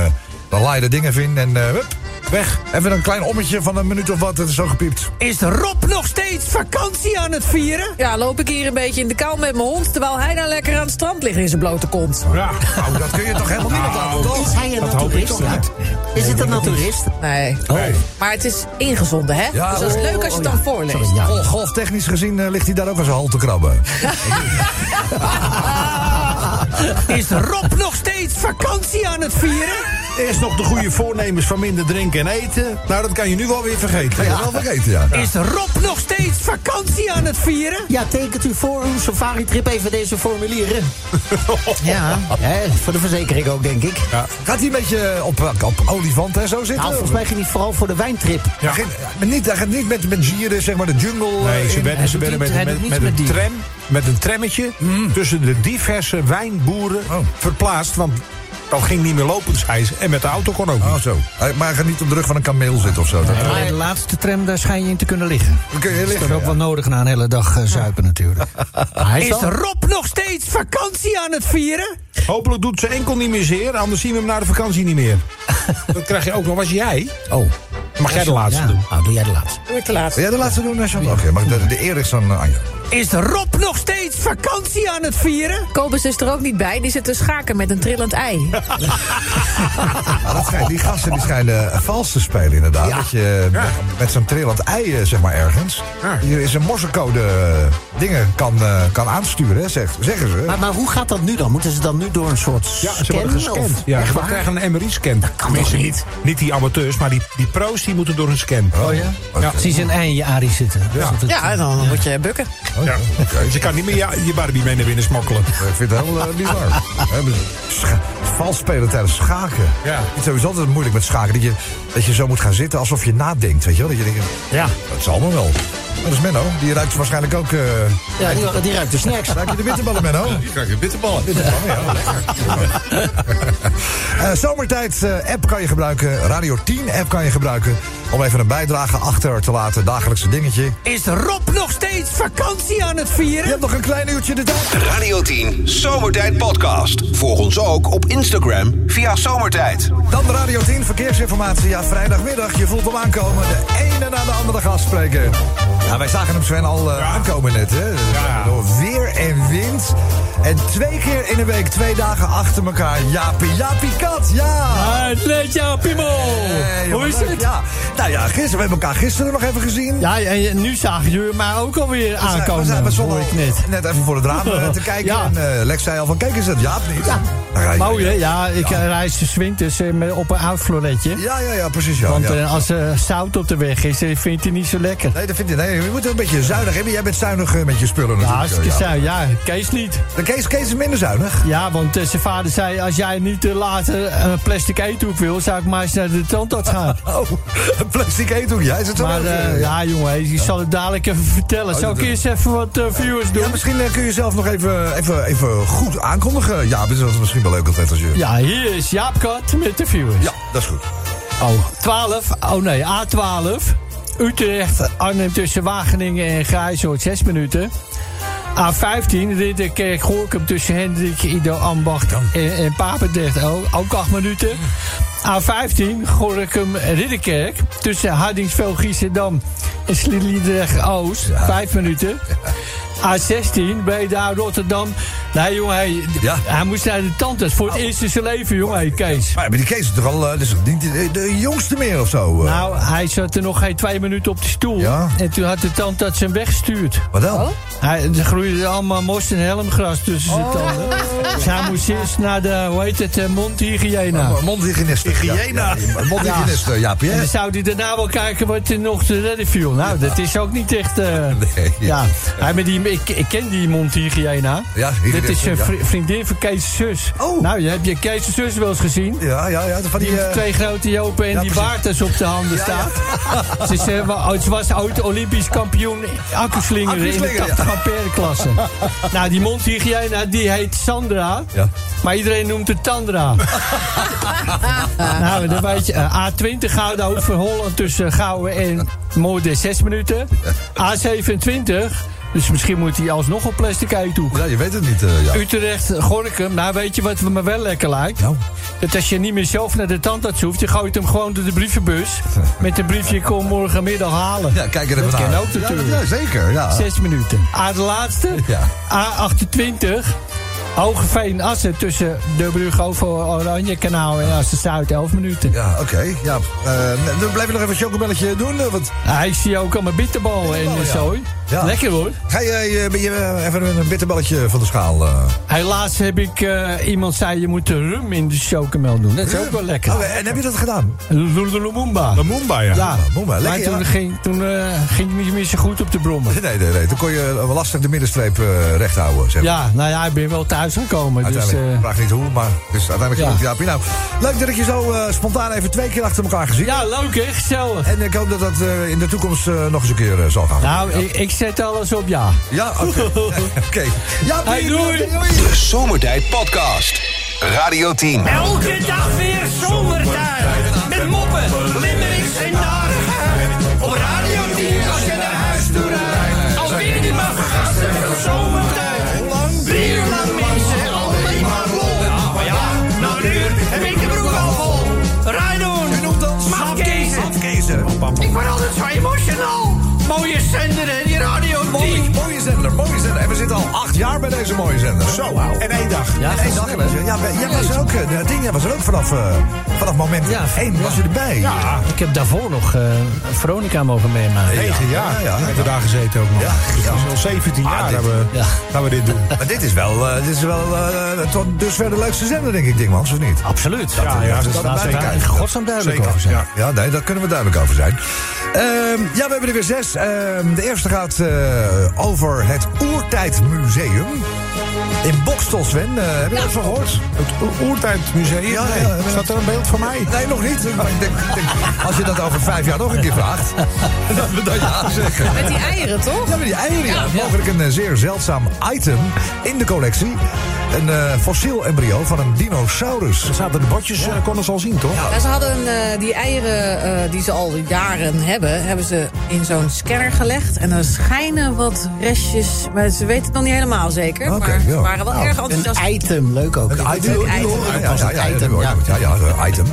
Speaker 2: dan laai je de dingen in en eh, hup, weg. Even een klein ommetje van een minuut of wat. Het is zo gepiept.
Speaker 11: Is Rob nog steeds vakantie aan het vieren?
Speaker 5: Ja, loop ik hier een beetje in de kou met mijn hond... terwijl hij dan lekker aan het strand ligt in zijn blote kont.
Speaker 3: Ja,
Speaker 2: Nou, dat kun je toch helemaal niet onthouden, toch?
Speaker 7: Is hij een
Speaker 3: dat hoop ik
Speaker 7: naturist?
Speaker 3: toch
Speaker 7: ja?
Speaker 3: niet.
Speaker 7: Is het een naturist?
Speaker 5: Nee. Maar het is ingezonden, hè?
Speaker 2: Ja,
Speaker 5: dus dat is
Speaker 2: oh,
Speaker 5: leuk als je het dan voorleest.
Speaker 7: Sorry, ja.
Speaker 2: Gol- golftechnisch gezien eh, ligt hij daar ook als een hal te krabben.
Speaker 11: (laughs) Is Rob nog steeds vakantie aan het vieren?
Speaker 12: Eerst nog de goede voornemens van minder drinken en eten. Nou, dat kan je nu wel weer vergeten.
Speaker 2: Ja. Wel vergeten, ja.
Speaker 11: Is Rob nog steeds vakantie aan het vieren?
Speaker 7: Ja, tekent u voor uw safari-trip even deze formulieren. (laughs) ja, hè, voor de verzekering ook, denk ik.
Speaker 2: Gaat hij een beetje op, eh, op olifant en zo zitten?
Speaker 7: Nou, volgens mij ging hij vooral voor de wijntrip.
Speaker 2: Hij gaat- maar niet, hij gaat niet met, met gieren, zeg maar, de jungle. eh,
Speaker 3: Nee, ze
Speaker 2: in.
Speaker 3: werden, ze werden met,
Speaker 11: hij doet
Speaker 3: met,
Speaker 11: niets
Speaker 3: met
Speaker 11: met
Speaker 3: een
Speaker 11: dieren.
Speaker 3: tram, met een trammetje
Speaker 2: Mm.
Speaker 3: tussen de diverse wijnboeren
Speaker 2: Oh.
Speaker 3: verplaatst. Want dat ging niet meer lopen, zei ze. En met de auto kon ook
Speaker 2: Oh,
Speaker 3: niet.
Speaker 2: zo. Hij- Maar hij gaat niet op de rug van een kameel zitten of zo. Dat-
Speaker 4: Alleen de laatste tram, daar schijn je in te kunnen liggen.
Speaker 2: Dan kun je
Speaker 4: Dat is toch
Speaker 2: liggen.
Speaker 4: ook wel nodig na een hele dag eh, zuipen natuurlijk.
Speaker 7: (laughs) Hij
Speaker 11: Is
Speaker 7: is wel-
Speaker 11: Rob nog steeds vakantie aan het vieren?
Speaker 3: Hopelijk doet ze enkel niet meer zeer, anders zien we hem na de vakantie niet meer. (laughs) dat krijg je ook nog. Was jij?
Speaker 7: Oh,
Speaker 3: Mag jij de laatste
Speaker 7: ja.
Speaker 3: doen?
Speaker 4: Ah,
Speaker 7: Oh, doe jij de laatste.
Speaker 5: Doe ik de laatste.
Speaker 2: Wil jij de laatste doen, eh, Chantal? Oké, maar de, de eer is aan eh, Anja.
Speaker 11: Is Rob nog steeds vakantie aan het vieren?
Speaker 5: Kobus is er ook niet bij. Die zit te schaken met een trillend ei.
Speaker 2: Nou, dat schijnt- die gasten die schijnen eh, vals te spelen, inderdaad. Dat je eh, met- met zo'n trillend ei, eh, zeg maar, ergens... hier is een morsecode eh, dingen kan, eh, kan aansturen, hè, zegt, zeggen
Speaker 4: Ah.
Speaker 2: ze.
Speaker 7: Maar, maar hoe gaat dat nu dan? Moeten ze dan nu door een soort
Speaker 3: Ja,
Speaker 7: scan?
Speaker 3: ze worden gescand.
Speaker 7: of-
Speaker 3: Ja,
Speaker 7: Echt
Speaker 3: we
Speaker 7: waar?
Speaker 3: krijgen een MRI-scan. Dat
Speaker 7: kan toch niet?
Speaker 3: Niet die amateurs, maar die, die pro's die moeten door een scan.
Speaker 2: Oh ja?
Speaker 3: Ja.
Speaker 4: Precies in ei in je Arie zitten. Dat is
Speaker 3: Ja.
Speaker 4: altijd-
Speaker 5: Ja, dan moet je bukken.
Speaker 2: Oh,
Speaker 3: Ja. Dus je kan niet meer je, je Barbie mee naar binnen smokkelen.
Speaker 2: Ik vind het heel eh, bizar. Hebben ze- Scha- vals spelen tijdens schaken. Ja. Het is sowieso altijd moeilijk met schaken. Dat je, dat je zo moet gaan zitten alsof je nadenkt. Weet je wel? Dat je denkt, ja. dat zal allemaal wel. Dat is Menno. Die ruikt waarschijnlijk ook... eh,
Speaker 4: Ja, die, die ruikt dus de snacks.
Speaker 2: Ruik je de bitterballen, Menno?
Speaker 6: Je krijgt weer bitterballen.
Speaker 2: Eh, zomertijd eh, app kan je gebruiken. Radio 10 app kan je gebruiken. Om even een bijdrage achter te laten. Dagelijkse dingetje.
Speaker 7: Is Rob nog steeds vakantie aan het vieren? Je
Speaker 2: hebt nog een klein uurtje de tijd.
Speaker 1: Radio 10 Zomertijd Podcast. Volg ons ook op Instagram via Zomertijd.
Speaker 2: Dan de Radio 10 verkeersinformatie. Ja, vrijdagmiddag. Je voelt hem aankomen. De ene na de andere gast spreken. Ja, wij zagen hem Sven al eh, aankomen net. Hè? Door weer en wind. En twee keer in een week, twee dagen achter elkaar. Japie, Japie Kat, ja!
Speaker 7: Uitleed Japie
Speaker 2: Hoe is het? Ja. Nou ja, gisteren, we hebben elkaar gisteren nog even gezien.
Speaker 4: Ja, en nu zagen jullie maar ook alweer
Speaker 2: We zijn-
Speaker 4: aankomen.
Speaker 2: We zijn, we stonden
Speaker 4: hoor ik
Speaker 2: al
Speaker 4: net.
Speaker 2: net even voor het
Speaker 4: (laughs)
Speaker 2: raam eh, te kijken.
Speaker 4: Ja.
Speaker 2: En eh, Lex zei al van, kijk eens dat Jaap niet. Ja.
Speaker 4: Mooi, hè? Ja, ik eh, reis de swing dus eh, met- op een oud floretje.
Speaker 2: Ja, ja, ja, precies. Ja,
Speaker 4: Want
Speaker 2: ja.
Speaker 4: eh, als er zout op de weg is, eh, vindt hij niet zo lekker.
Speaker 2: Nee, dat vind ik. Nee, je moet een beetje zuinig hebben. Jij bent zuinig eh, met je spullen natuurlijk.
Speaker 4: Ja, hartstikke
Speaker 2: eh, Jaap.
Speaker 4: zuinig. Ja, Kees niet.
Speaker 2: De Kees, Kees is minder zuinig.
Speaker 4: Ja, want eh, zijn vader zei, als jij niet eh, later een plastic eethoek wil, zou ik maar eens naar de tandarts gaan.
Speaker 2: Oh, een plastic eethoek. Ja, is het zo?
Speaker 4: Maar
Speaker 2: erg,
Speaker 4: eh,
Speaker 2: eh,
Speaker 4: ja, jongen, ik zal het dadelijk even vertellen. Zal ik
Speaker 2: dat-
Speaker 4: eerst even wat eh, viewers doen?
Speaker 2: Ja, misschien eh, kun je zelf nog even, even, even goed aankondigen. Ja, dat is misschien wel leuk altijd als je...
Speaker 4: Ja, hier is Jaap Kat met de viewers.
Speaker 2: Ja, dat is goed.
Speaker 4: Oh, 12. Oh nee, A12. Utrecht, Arnhem tussen Wageningen en Grijzoord, 6 minuten. A15, Ridderkerk, Gorkum tussen Hendrik, Ido, Ambacht en, en Papendrecht ook, ook 8 minuten. A15, Gorkum, Ridderkerk tussen Hardingsveld, Giessendam en Sliedrecht-Oost, 5 minuten. A16, Breda, Rotterdam. Nee, jongen, hij,
Speaker 2: Ja.
Speaker 4: hij moest naar de tandarts voor het eerst in zijn leven, jongen, hey, Kees.
Speaker 2: Maar die Kees is toch al eh, dus niet de, de jongste meer of zo? eh?
Speaker 4: Nou, hij zat er nog geen twee minuten op de stoel.
Speaker 2: Ja.
Speaker 4: En toen had de tandarts hem weggestuurd.
Speaker 2: Wat dan?
Speaker 4: Hij, er groeide allemaal mos en helmgras tussen zijn tanden. Dus hij moest eerst naar de, hoe heet het, eh, mondhygiëne.
Speaker 2: Oh, Mondhygiëniste.
Speaker 3: Hygiëna.
Speaker 2: Ja, ja, mondhygiëniste, Jaap.
Speaker 4: En
Speaker 2: hè?
Speaker 4: dan zou hij daarna wel kijken wat er nog te redden viel. Nou, dat is ook niet echt... eh,
Speaker 2: (laughs) Nee.
Speaker 4: Ja, Hij met die, ik, ik ken die mondhygiëna.
Speaker 2: Ja,
Speaker 4: Dat
Speaker 2: hygiëniste,
Speaker 4: is een
Speaker 2: ja.
Speaker 4: vri- vriendin van Kees' zus.
Speaker 2: Oh.
Speaker 4: Nou, je, heb je Kees' zus wel eens gezien?
Speaker 2: Ja, ja, ja. Van die,
Speaker 4: Die
Speaker 2: eh,
Speaker 4: twee grote jopen en
Speaker 2: ja,
Speaker 4: die
Speaker 2: precies.
Speaker 4: baartes op de handen staat. (laughs) Ze, is, eh, wa- ze was oud-Olympisch kampioen accuslingeren in de
Speaker 2: Accuslingeren,
Speaker 4: 80 ampère klasse.
Speaker 2: (laughs)
Speaker 4: nou, die mondhygiëne die heet Sandra.
Speaker 2: Ja.
Speaker 4: Maar iedereen noemt het
Speaker 2: (laughs)
Speaker 4: Tandra. nou, dan weet je. eh, A20 Gouda over Holland tussen Gouwen en Moorden 6 minuten. A27, dus misschien moet hij alsnog een plastic uitdoeken.
Speaker 2: ja, je weet het niet, eh, Jaap.
Speaker 4: Utrecht, Gorkum. Nou, weet je wat me wel lekker lijkt?
Speaker 2: Nou.
Speaker 4: Dat als je niet meer zelf naar de tandarts hoeft, je gooit hem gewoon door de brievenbus. Met een briefje, kom morgenmiddag halen.
Speaker 2: Ja, kijk er even
Speaker 4: Dat
Speaker 2: naar.
Speaker 4: ken ook
Speaker 2: Ja,
Speaker 4: natuurlijk.
Speaker 2: Ja, zeker, ja.
Speaker 4: Zes minuten. A de laatste.
Speaker 2: Ja.
Speaker 4: A28. Hogeveen Assen tussen de brug over Oranje Kanaal en Assen Zuid. Elf minuten.
Speaker 2: Ja, oké. Ja, eh, dan blijf je nog even een chocobelletje doen. eh, Want
Speaker 4: Ah, ik zie ook allemaal bitterballen en
Speaker 2: Bitterballen,
Speaker 4: eh,
Speaker 2: ja.
Speaker 4: zo.
Speaker 2: Ja.
Speaker 4: Lekker hoor.
Speaker 2: ga je, eh, ben je eh, even een bitterballetje van de schaal... eh?
Speaker 4: Helaas heb ik eh, iemand zei je moet de rum in de chocomel doen. Dat is ook wel lekker.
Speaker 2: Oh, en heb je dat gedaan?
Speaker 4: Lumumba.
Speaker 3: De Mumba, ja.
Speaker 4: Ja,
Speaker 2: Moe maar,
Speaker 4: maar
Speaker 2: lekker,
Speaker 4: toen
Speaker 2: ja.
Speaker 4: ging, toen, eh, ging het niet meer zo goed op de brommen.
Speaker 2: Nee, nee, nee. Toen kon je eh, lastig de middenstreep eh, recht houden, zeg maar.
Speaker 4: Ja, nou ja, ik ben wel thuis gekomen. Dus,
Speaker 2: Uiteindelijk.
Speaker 4: eh,
Speaker 2: Vraag niet hoe, maar het is uiteindelijk
Speaker 4: Ja.
Speaker 2: gelukt. Jaapie. Nou, leuk dat ik je zo eh, spontaan even twee keer achter elkaar gezien
Speaker 4: ja, leuk hè, gezellig.
Speaker 2: En ik hoop dat dat eh, in de toekomst eh, nog eens een keer eh, zal gaan.
Speaker 4: Nou, ik, ik zet alles op ja.
Speaker 2: Ja, oké. Oké. Ja,
Speaker 4: Hey, doei.
Speaker 1: De Zomertijd Podcast. Radio 10.
Speaker 7: Elke dag weer zomertijd. Met moppen, limmerings en narigheid. Op Radio 10 als je naar huis toe rijdt. Alweer die mafgasten van zomertijd. Hoe lang? Drie uur lang mensen, alleen maar lol. Ja, maar ja, na een uur heb ik de broek al vol. Rijdoen. Je noemt dat mafkezen. Ik word altijd zo emotional. Mooie zender hè, die Radio 10.
Speaker 2: Mooie zender, mooie zender. En we zitten al acht jaar bij deze mooie zender. Zo,
Speaker 3: En één dag.
Speaker 2: Ja, geen dag. Ja, maar jij was er ook, eh, dat ding, jij was er ook vanaf, eh, vanaf moment
Speaker 4: Ja,
Speaker 2: één was je erbij. Ja,
Speaker 4: Ik heb daarvoor nog eh, Veronica mogen meemaken.
Speaker 3: Negen jaar.
Speaker 2: Ja, ja, ja.
Speaker 3: Hebben we daar gezeten ook nog.
Speaker 2: Ja,
Speaker 3: Dus
Speaker 2: ja.
Speaker 3: dat is al 17
Speaker 2: Ah,
Speaker 3: jaar
Speaker 2: dit-
Speaker 3: dat we,
Speaker 4: Ja.
Speaker 3: dat we dit
Speaker 2: (laughs)
Speaker 3: doen.
Speaker 2: Maar dit is wel, eh, dit is wel eh, tot dusver de leukste zender, denk ik, Dingmans, of niet?
Speaker 4: Absoluut.
Speaker 3: Ja, ja, dat
Speaker 2: laten we
Speaker 3: staat
Speaker 2: kijken.
Speaker 3: zeker.
Speaker 4: Godsnaam duidelijk
Speaker 3: Zeker,
Speaker 4: over zijn.
Speaker 3: ja.
Speaker 2: Ja, nee, daar kunnen we duidelijk over zijn. Ehm, ja, we hebben er weer zes. Ehm, de eerste gaat eh, over het Oertijdmuseum. In Bokstel, Sven. Uh, heb je dat van gehoord?
Speaker 3: Het Oertijdmuseum? Ja, nee. ja, Staat er een beeld van mij?
Speaker 2: Nee, nog niet. Ik denk, ik denk, als je dat over vijf jaar nog een keer vraagt... dat we dat ja zeggen.
Speaker 5: Met die eieren, toch?
Speaker 2: Ja, met die eieren. Ja. Mogelijk een eh, zeer zeldzaam item in de collectie. Een eh, fossiel embryo van een dinosaurus.
Speaker 3: Er zaten de botjes, eh, konden ze al zien, toch?
Speaker 5: Ja, ze hadden eh, die eieren eh, die ze al jaren hebben, hebben ze in zo'n scanner gelegd. En er schijnen wat restjes, maar ze weten het nog niet helemaal zeker.
Speaker 2: Oké,
Speaker 5: maar
Speaker 2: ja.
Speaker 5: ze waren wel
Speaker 2: Nou,
Speaker 5: erg
Speaker 7: Een
Speaker 5: enthousiast.
Speaker 7: item, leuk ook.
Speaker 2: Een item.
Speaker 5: Een item.
Speaker 2: Ja, ja, ja, ja,
Speaker 7: Item,
Speaker 2: ja, ja, ja, een item.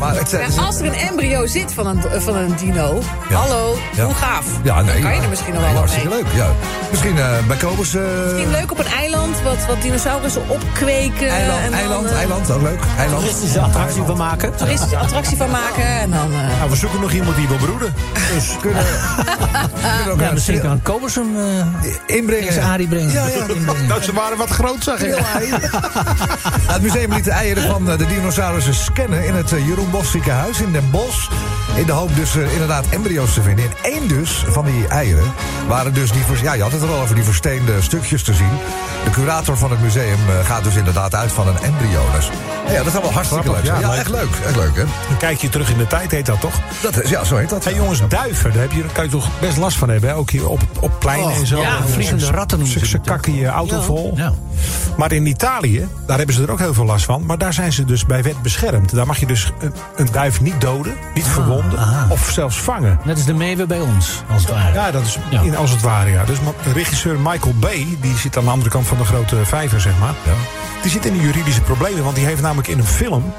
Speaker 2: Maar het,
Speaker 3: eh,
Speaker 5: Ja, als er een embryo zit van een, van een dino,
Speaker 2: Ja.
Speaker 5: hallo,
Speaker 2: Ja.
Speaker 5: hoe gaaf.
Speaker 2: Ja, nee.
Speaker 5: Dan kan je er misschien nog wel wat
Speaker 2: Hartstikke
Speaker 5: mee.
Speaker 2: leuk, ja. Misschien eh, bij Kobus... eh,
Speaker 5: Misschien leuk op een eiland, wat, wat dinosaurussen opkweken. en
Speaker 2: Eiland,
Speaker 5: dan,
Speaker 2: eiland,
Speaker 5: eh,
Speaker 2: eiland, ook leuk. Eiland.
Speaker 7: Toeristische attractie van maken.
Speaker 5: toeristische attractie van maken. En dan, eh,
Speaker 3: Nou, we zoeken nog iemand die wil broeden.
Speaker 2: Dus (laughs) kunnen, kunnen ook
Speaker 7: Ja,
Speaker 2: een-
Speaker 7: misschien kan Kobus hem eh,
Speaker 2: inbrengen.
Speaker 7: Eens Arie brengen.
Speaker 2: Ja, ja.
Speaker 3: Nou, ze waren wat groot, zag ik.
Speaker 2: Nou, (laughs) het museum liet de eieren van eh, de dinosaurussen scannen in het eh, Jeroen Bosch ziekenhuis in Den Bosch. In de hoop dus eh, inderdaad embryo's te vinden. En één dus van die eieren waren dus die... vers- Ja, je had het er al over die versteende stukjes te zien. De curator van het museum eh, gaat dus inderdaad uit van een embryo. Dus, ja, dat is allemaal hartstikke leuk.
Speaker 3: Grappig,
Speaker 2: Ja,
Speaker 3: ja, leuk.
Speaker 2: echt leuk. Echt leuk, hè?
Speaker 3: Een kijkje terug in de tijd heet dat toch?
Speaker 2: Dat, is- ja, zo heet dat.
Speaker 3: Hé jongens, duiven, daar, heb je, daar kan je toch best last van hebben. Hè? Ook hier op, op pleinen en zo.
Speaker 7: Oh, ja,
Speaker 3: En
Speaker 7: vliegende
Speaker 3: ze-
Speaker 7: ratten noemen
Speaker 3: Ze,
Speaker 7: ze
Speaker 3: ze
Speaker 7: dat.
Speaker 3: kakken je auto
Speaker 7: Ja.
Speaker 3: vol.
Speaker 7: Ja.
Speaker 3: Maar in Italië, daar hebben ze er ook heel veel last van. Maar daar zijn ze dus bij wet beschermd. Daar mag je dus een, een duif niet doden, niet verwonden
Speaker 7: Ah, aha.
Speaker 3: of zelfs vangen.
Speaker 7: Net als de meeuwen bij ons, als het ware.
Speaker 3: Ja, dat is
Speaker 7: Ja.
Speaker 3: in- als het ware, ja. Dus ma- regisseur Michael Bay, die zit aan de andere kant van de grote vijver, zeg maar. Die zit in de juridische problemen, want die heeft namelijk in een film...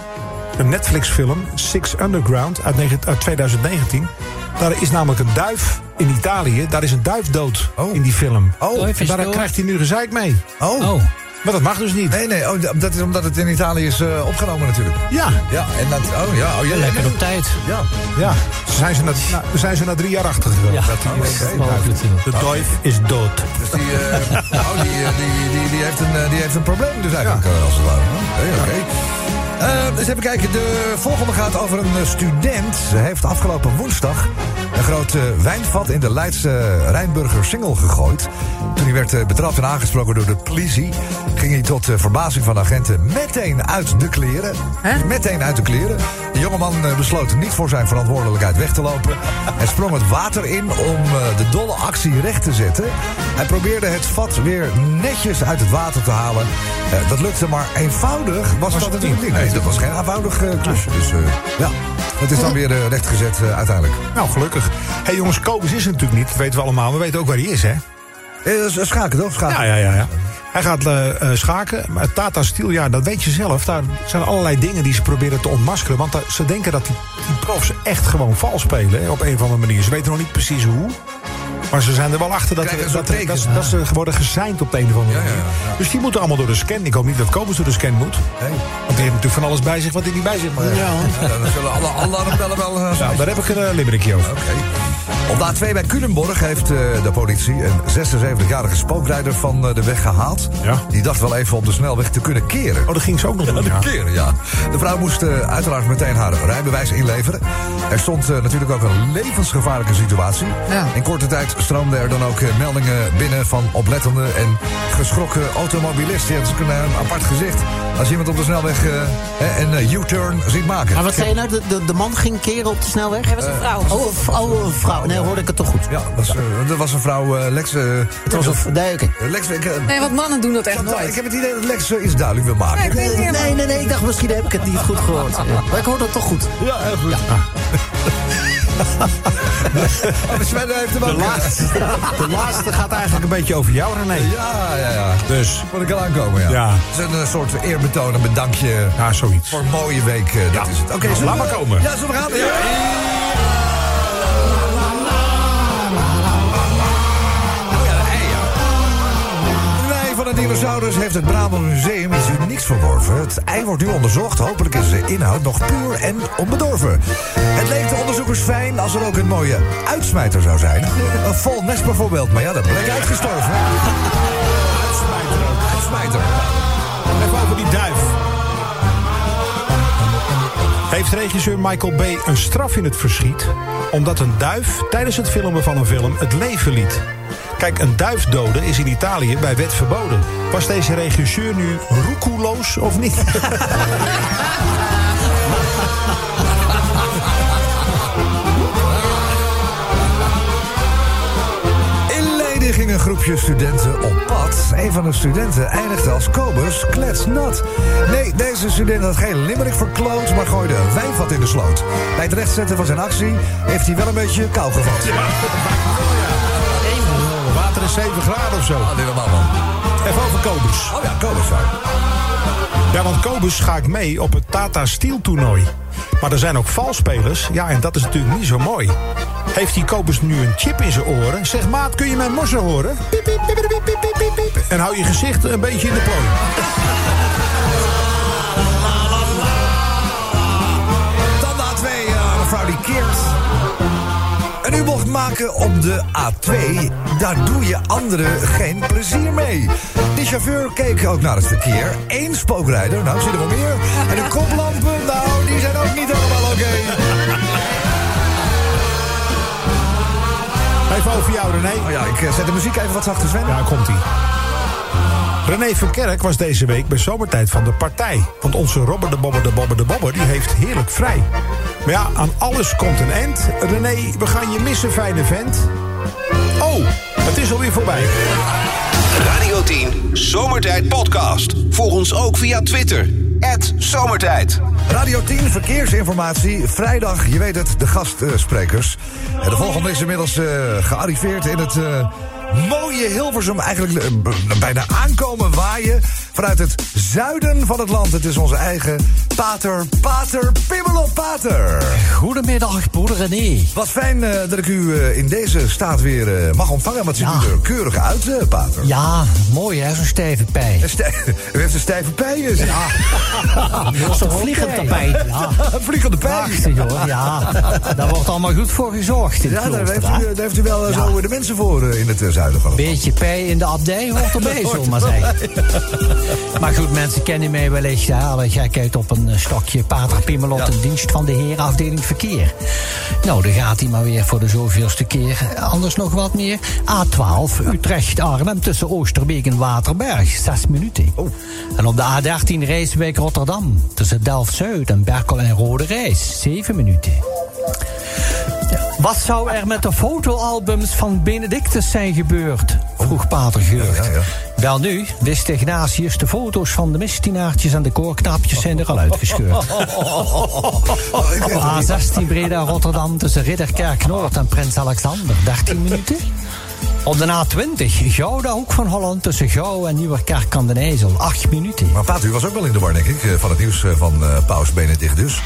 Speaker 3: een Netflix-film, Six Underground, uit, negen- uit 2019... daar is namelijk een duif in Italië, daar is een duif dood
Speaker 2: Oh.
Speaker 3: in die film.
Speaker 2: Oh,
Speaker 7: even
Speaker 3: daar
Speaker 7: door.
Speaker 3: krijgt hij nu gezeik mee.
Speaker 2: Oh.
Speaker 7: Oh,
Speaker 3: Maar dat mag dus niet.
Speaker 2: Nee, nee, oh, dat is omdat het in Italië is eh, opgenomen natuurlijk.
Speaker 3: Ja,
Speaker 2: Ja, en dat... Oh, ja, oh, ja, ja,
Speaker 7: lekker op tijd.
Speaker 2: ja.
Speaker 3: ja. Zijn ze na, na- zijn ze na drie jaar achter gekomen.
Speaker 7: Ja,
Speaker 3: dat die-
Speaker 2: oké.
Speaker 7: Maar goed, eh,
Speaker 3: De duif is dood.
Speaker 2: Dus die, eh, nou, die, eh, die, die, die, heeft een, eh, die heeft een probleem dus eigenlijk, eh, als het ware. Oké, oké. Eh, eens even kijken, de volgende gaat over een eh, student. Ze heeft afgelopen woensdag een groot eh, wijnvat in de Leidse Rijnburger Singel gegooid. Toen hij werd eh, betrapt en aangesproken door de politie... ging hij tot eh, verbazing van de agenten meteen uit de kleren.
Speaker 5: Hè?
Speaker 2: Meteen uit de kleren. De jongeman eh, besloot niet voor zijn verantwoordelijkheid weg te lopen. Hij sprong het water in om eh, de dolle actie recht te zetten. Hij probeerde het vat weer netjes uit het water te halen. Eh, dat lukte, maar eenvoudig was, dat natuurlijk niet. Nee, dat was geen eenvoudig eh, klusje. Dus eh, ja, dat is dan weer eh, rechtgezet eh, uiteindelijk.
Speaker 3: Nou, gelukkig. Hé hey jongens, Kobus is er natuurlijk niet. Dat weten we allemaal. We weten ook waar hij is, hè?
Speaker 2: Eh, s- schaken toch? Schaken.
Speaker 3: Ja, ja, ja. ja. Hij gaat eh, eh, schaken. Maar Tata Steel, ja, dat weet je zelf. Daar zijn allerlei dingen die ze proberen te ontmaskeren. Want daar- ze denken dat die, die profs echt gewoon vals spelen. Hè, op een of andere manier. Ze weten nog niet precies hoe. Maar ze zijn er wel achter dat,
Speaker 2: Krijgen
Speaker 3: dat,
Speaker 2: ze
Speaker 3: dat,
Speaker 2: tekens,
Speaker 3: dat- dat ze worden gezeind op de een of andere
Speaker 2: Ja, ja,
Speaker 3: manier.
Speaker 2: ja.
Speaker 3: Dus die moeten allemaal door de scan. Ik hoop niet dat Kobus door de scan moet.
Speaker 2: Nee.
Speaker 3: Want die heeft natuurlijk van alles bij zich wat hij niet bij zich mag. Ja,
Speaker 2: Ja, dan zullen alle alarmbellen wel... eh,
Speaker 3: nou, daar heb ik een uh, limerickje over.
Speaker 2: Oké. Op de A2 bij Culemborg heeft eh, de politie een 76-jarige spookrijder van eh, de weg gehaald.
Speaker 3: Ja.
Speaker 2: Die dacht wel even op de snelweg te kunnen keren. (laughs)
Speaker 3: Oh, dat ging ze ook nog doen, ja.
Speaker 2: Keren, ja. De vrouw moest eh, uiteraard meteen haar rijbewijs inleveren. Er stond eh, natuurlijk ook een levensgevaarlijke situatie.
Speaker 5: Ja.
Speaker 2: In korte tijd stroomden er dan ook eh, meldingen binnen van oplettende en geschrokken automobilisten. Ja, dat is ook een, eh, apart gezicht als je iemand op de snelweg eh, hè, een eh, U-turn ziet maken.
Speaker 7: Maar wat zei je nou? De, de, de man ging keren op de snelweg?
Speaker 5: hij was
Speaker 2: Eh,
Speaker 5: een vrouw.
Speaker 7: Oh, een v- oh, een vrouw. Nee, hoorde ik het toch goed.
Speaker 2: Ja, dat was, eh, dat was een vrouw, eh, Lex... eh,
Speaker 7: Het was een... v- Nee, oké.
Speaker 2: Lex, ik, eh,
Speaker 5: Nee, want mannen doen dat echt
Speaker 2: Chantal, ik
Speaker 5: nooit.
Speaker 2: heb het idee dat Lex eh, iets duidelijk wil maken.
Speaker 5: Nee, ik weet het niet
Speaker 7: Nee, nee, nee. Ik dacht misschien heb ik het niet goed gehoord. Ja, Maar ik hoorde het toch goed.
Speaker 3: Ja, heel goed.
Speaker 2: Oh, Sven heeft hem ook.
Speaker 3: De laatste gaat eigenlijk een beetje over jou, René.
Speaker 2: Ja, ja, ja.
Speaker 3: Dus,
Speaker 2: Moet ik al aankomen, ja.
Speaker 3: Ja.
Speaker 2: Het is een eh, soort eerbetoon, een bedankje
Speaker 3: ja, zoiets.
Speaker 2: voor een mooie week. eh, Dat is het. Oké,
Speaker 3: Nou,
Speaker 2: zullen
Speaker 3: laat
Speaker 2: we-
Speaker 3: maar komen.
Speaker 2: Ja, zullen we gaan? Ja. Oh ja, hey, ja. Het ei van een Dinosaurus heeft het Brabant Museum iets unieks verworven. Het ei wordt nu onderzocht. Hopelijk is de inhoud nog puur en onbedorven. Het leek de onderzoekers fijn als er ook een mooie uitsmijter zou zijn. Een vol nest bijvoorbeeld, maar ja, dat bleek uitgestorven. uitsmijter ook. Uitsmijter.
Speaker 3: Even over die duif. Heeft regisseur Michael Bay een straf in het verschiet... omdat een duif tijdens het filmen van een film het leven liet? Kijk, een duif doden is in Italië bij wet verboden. Was deze regisseur nu roekeloos of niet?
Speaker 2: In Leiden ging een groepje studenten op pad. Een van de studenten eindigde als Kobus kletsnat. Nee, deze student had geen limmerik verkloot, maar gooide een wijnvat in de sloot. Bij het rechtzetten van zijn actie heeft hij wel een beetje kou gevat.
Speaker 3: Water is 7 graden of zo.
Speaker 2: Ah, helemaal man.
Speaker 3: Even over Kobus.
Speaker 2: Oh ja, Kobus zou.
Speaker 3: Ja, want Kobus ga ik mee op het Tata Steel toernooi. Maar er zijn ook valspelers. Ja, en dat is natuurlijk niet zo mooi. Heeft die Kobus nu een chip in zijn oren? Zeg, maat, kun je mijn morsen horen? Piep, piep, piep, piep, piep, piep, piep, piep. En hou je gezicht een beetje in de plooi.
Speaker 2: Dan de A2, eh, mevrouw die keert. Een U-bocht maken op de A2, daar doe je anderen geen plezier mee. Die chauffeur keek ook naar het verkeer. Eén spookrijder, nou zie je er wel meer. En de koplampen, nou die zijn ook niet helemaal oké.
Speaker 3: Even over jou, René.
Speaker 2: Oh ja, ik eh, zet de muziek even wat zachter, Sven.
Speaker 3: Ja, komt ie. René Verkerk was deze week bij Zomertijd van de partij. Want onze Robber de Bobber de Bobber de Bobber die heeft heerlijk vrij. Maar ja, aan alles komt een eind. René, we gaan je missen, fijne vent. Oh, het is alweer voorbij.
Speaker 1: Radio 10 Zomertijd Podcast. Volg ons ook via Twitter. Zomertijd.
Speaker 2: Radio 10 Verkeersinformatie. Vrijdag, je weet het, de gastsprekers. En de volgende is inmiddels eh, gearriveerd in het eh, mooie Hilversum. Eigenlijk eh, b- bijna aankomen waaien vanuit het zuiden van het land. Het is onze eigen Pater, Pater, Pimmelop Pater.
Speaker 4: Goedemiddag, broeder René.
Speaker 2: Wat fijn eh, dat ik u eh, in deze staat weer eh, mag ontvangen. Wat ziet
Speaker 4: Ja.
Speaker 2: u er keurig uit, eh, Pater?
Speaker 4: Ja, mooi hè, zo'n stijve pij.
Speaker 2: Een stij- (laughs) U heeft een stijve dus. pijs. Ja.
Speaker 4: Ah, Zo'n vliegend tapijt.
Speaker 7: (laughs)
Speaker 4: Ja,
Speaker 2: Vliegende pijs.
Speaker 4: prachtig hoor. Ja, daar wordt allemaal goed voor gezorgd. In het
Speaker 2: Ja, daar
Speaker 4: klooster,
Speaker 2: heeft, u,
Speaker 4: hè.
Speaker 2: daar heeft u wel eh,
Speaker 4: Ja.
Speaker 2: zo de mensen voor eh, in het eh, zuiden van het
Speaker 4: Beetje pij in de abdij hoort erbij, zullen we maar zeggen. (laughs) Maar goed, mensen kennen mij wellicht hè, alle gekheid op een eh, stokje. Pater Pimmelot, in dienst van de heer afdeling verkeer. Nou, daar gaat hij maar weer voor de zoveelste keer. Eh, Anders nog wat meer. A12, Utrecht-Arnhem tussen Oosterbeek en Waterberg. Zes minuten. En op de A13 Rijswijk-Rotterdam tussen Delft-Zuid en Berkel en Rode Reis. Zeven minuten. Wat zou er met de fotoalbums van Benedictus zijn gebeurd? Vroeg Pater Geurt.
Speaker 2: Ja, ja, ja.
Speaker 4: Wel nu, wist Ignatius, de foto's van de mistienaartjes en de koorknaapjes zijn er al
Speaker 2: (laughs)
Speaker 4: uitgescheurd. A16 Breda Rotterdam tussen Ridderkerk Noord en Prins Alexander, 13 minuten. Op de A20 Gouda Hoek van Holland tussen Gouw en Nieuwerkerk aan den IJssel, 8 minuten.
Speaker 2: Maar Paat, u was ook wel in de war, denk ik, eh, van het nieuws eh, van eh, Paus Benedict dus.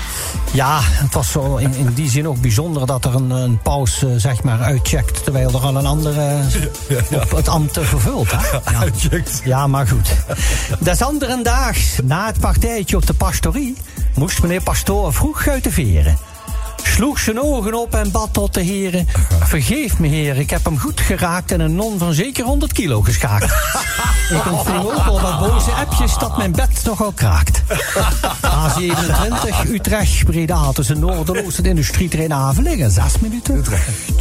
Speaker 4: Ja, het was zo in, in die zin ook bijzonder dat er een, een paus eh, zeg maar uitcheckt... terwijl er al een andere op het ambt eh, vervult. Hè? Ja. Ja, maar goed. Des anderen daags, na het partijtje op de pastorie, moest meneer Pastoor vroeg uit de veren. Sloeg zijn ogen op en bad tot de heren. Vergeef me, heer, ik heb hem goed geraakt en een non van zeker 100 kilo geschaakt. Ik ontving ook al wat boze appjes dat mijn bed nogal kraakt. A27, Utrecht, Breda, tussen Noorderloos en Industrietrain Avelingen. Zes minuten.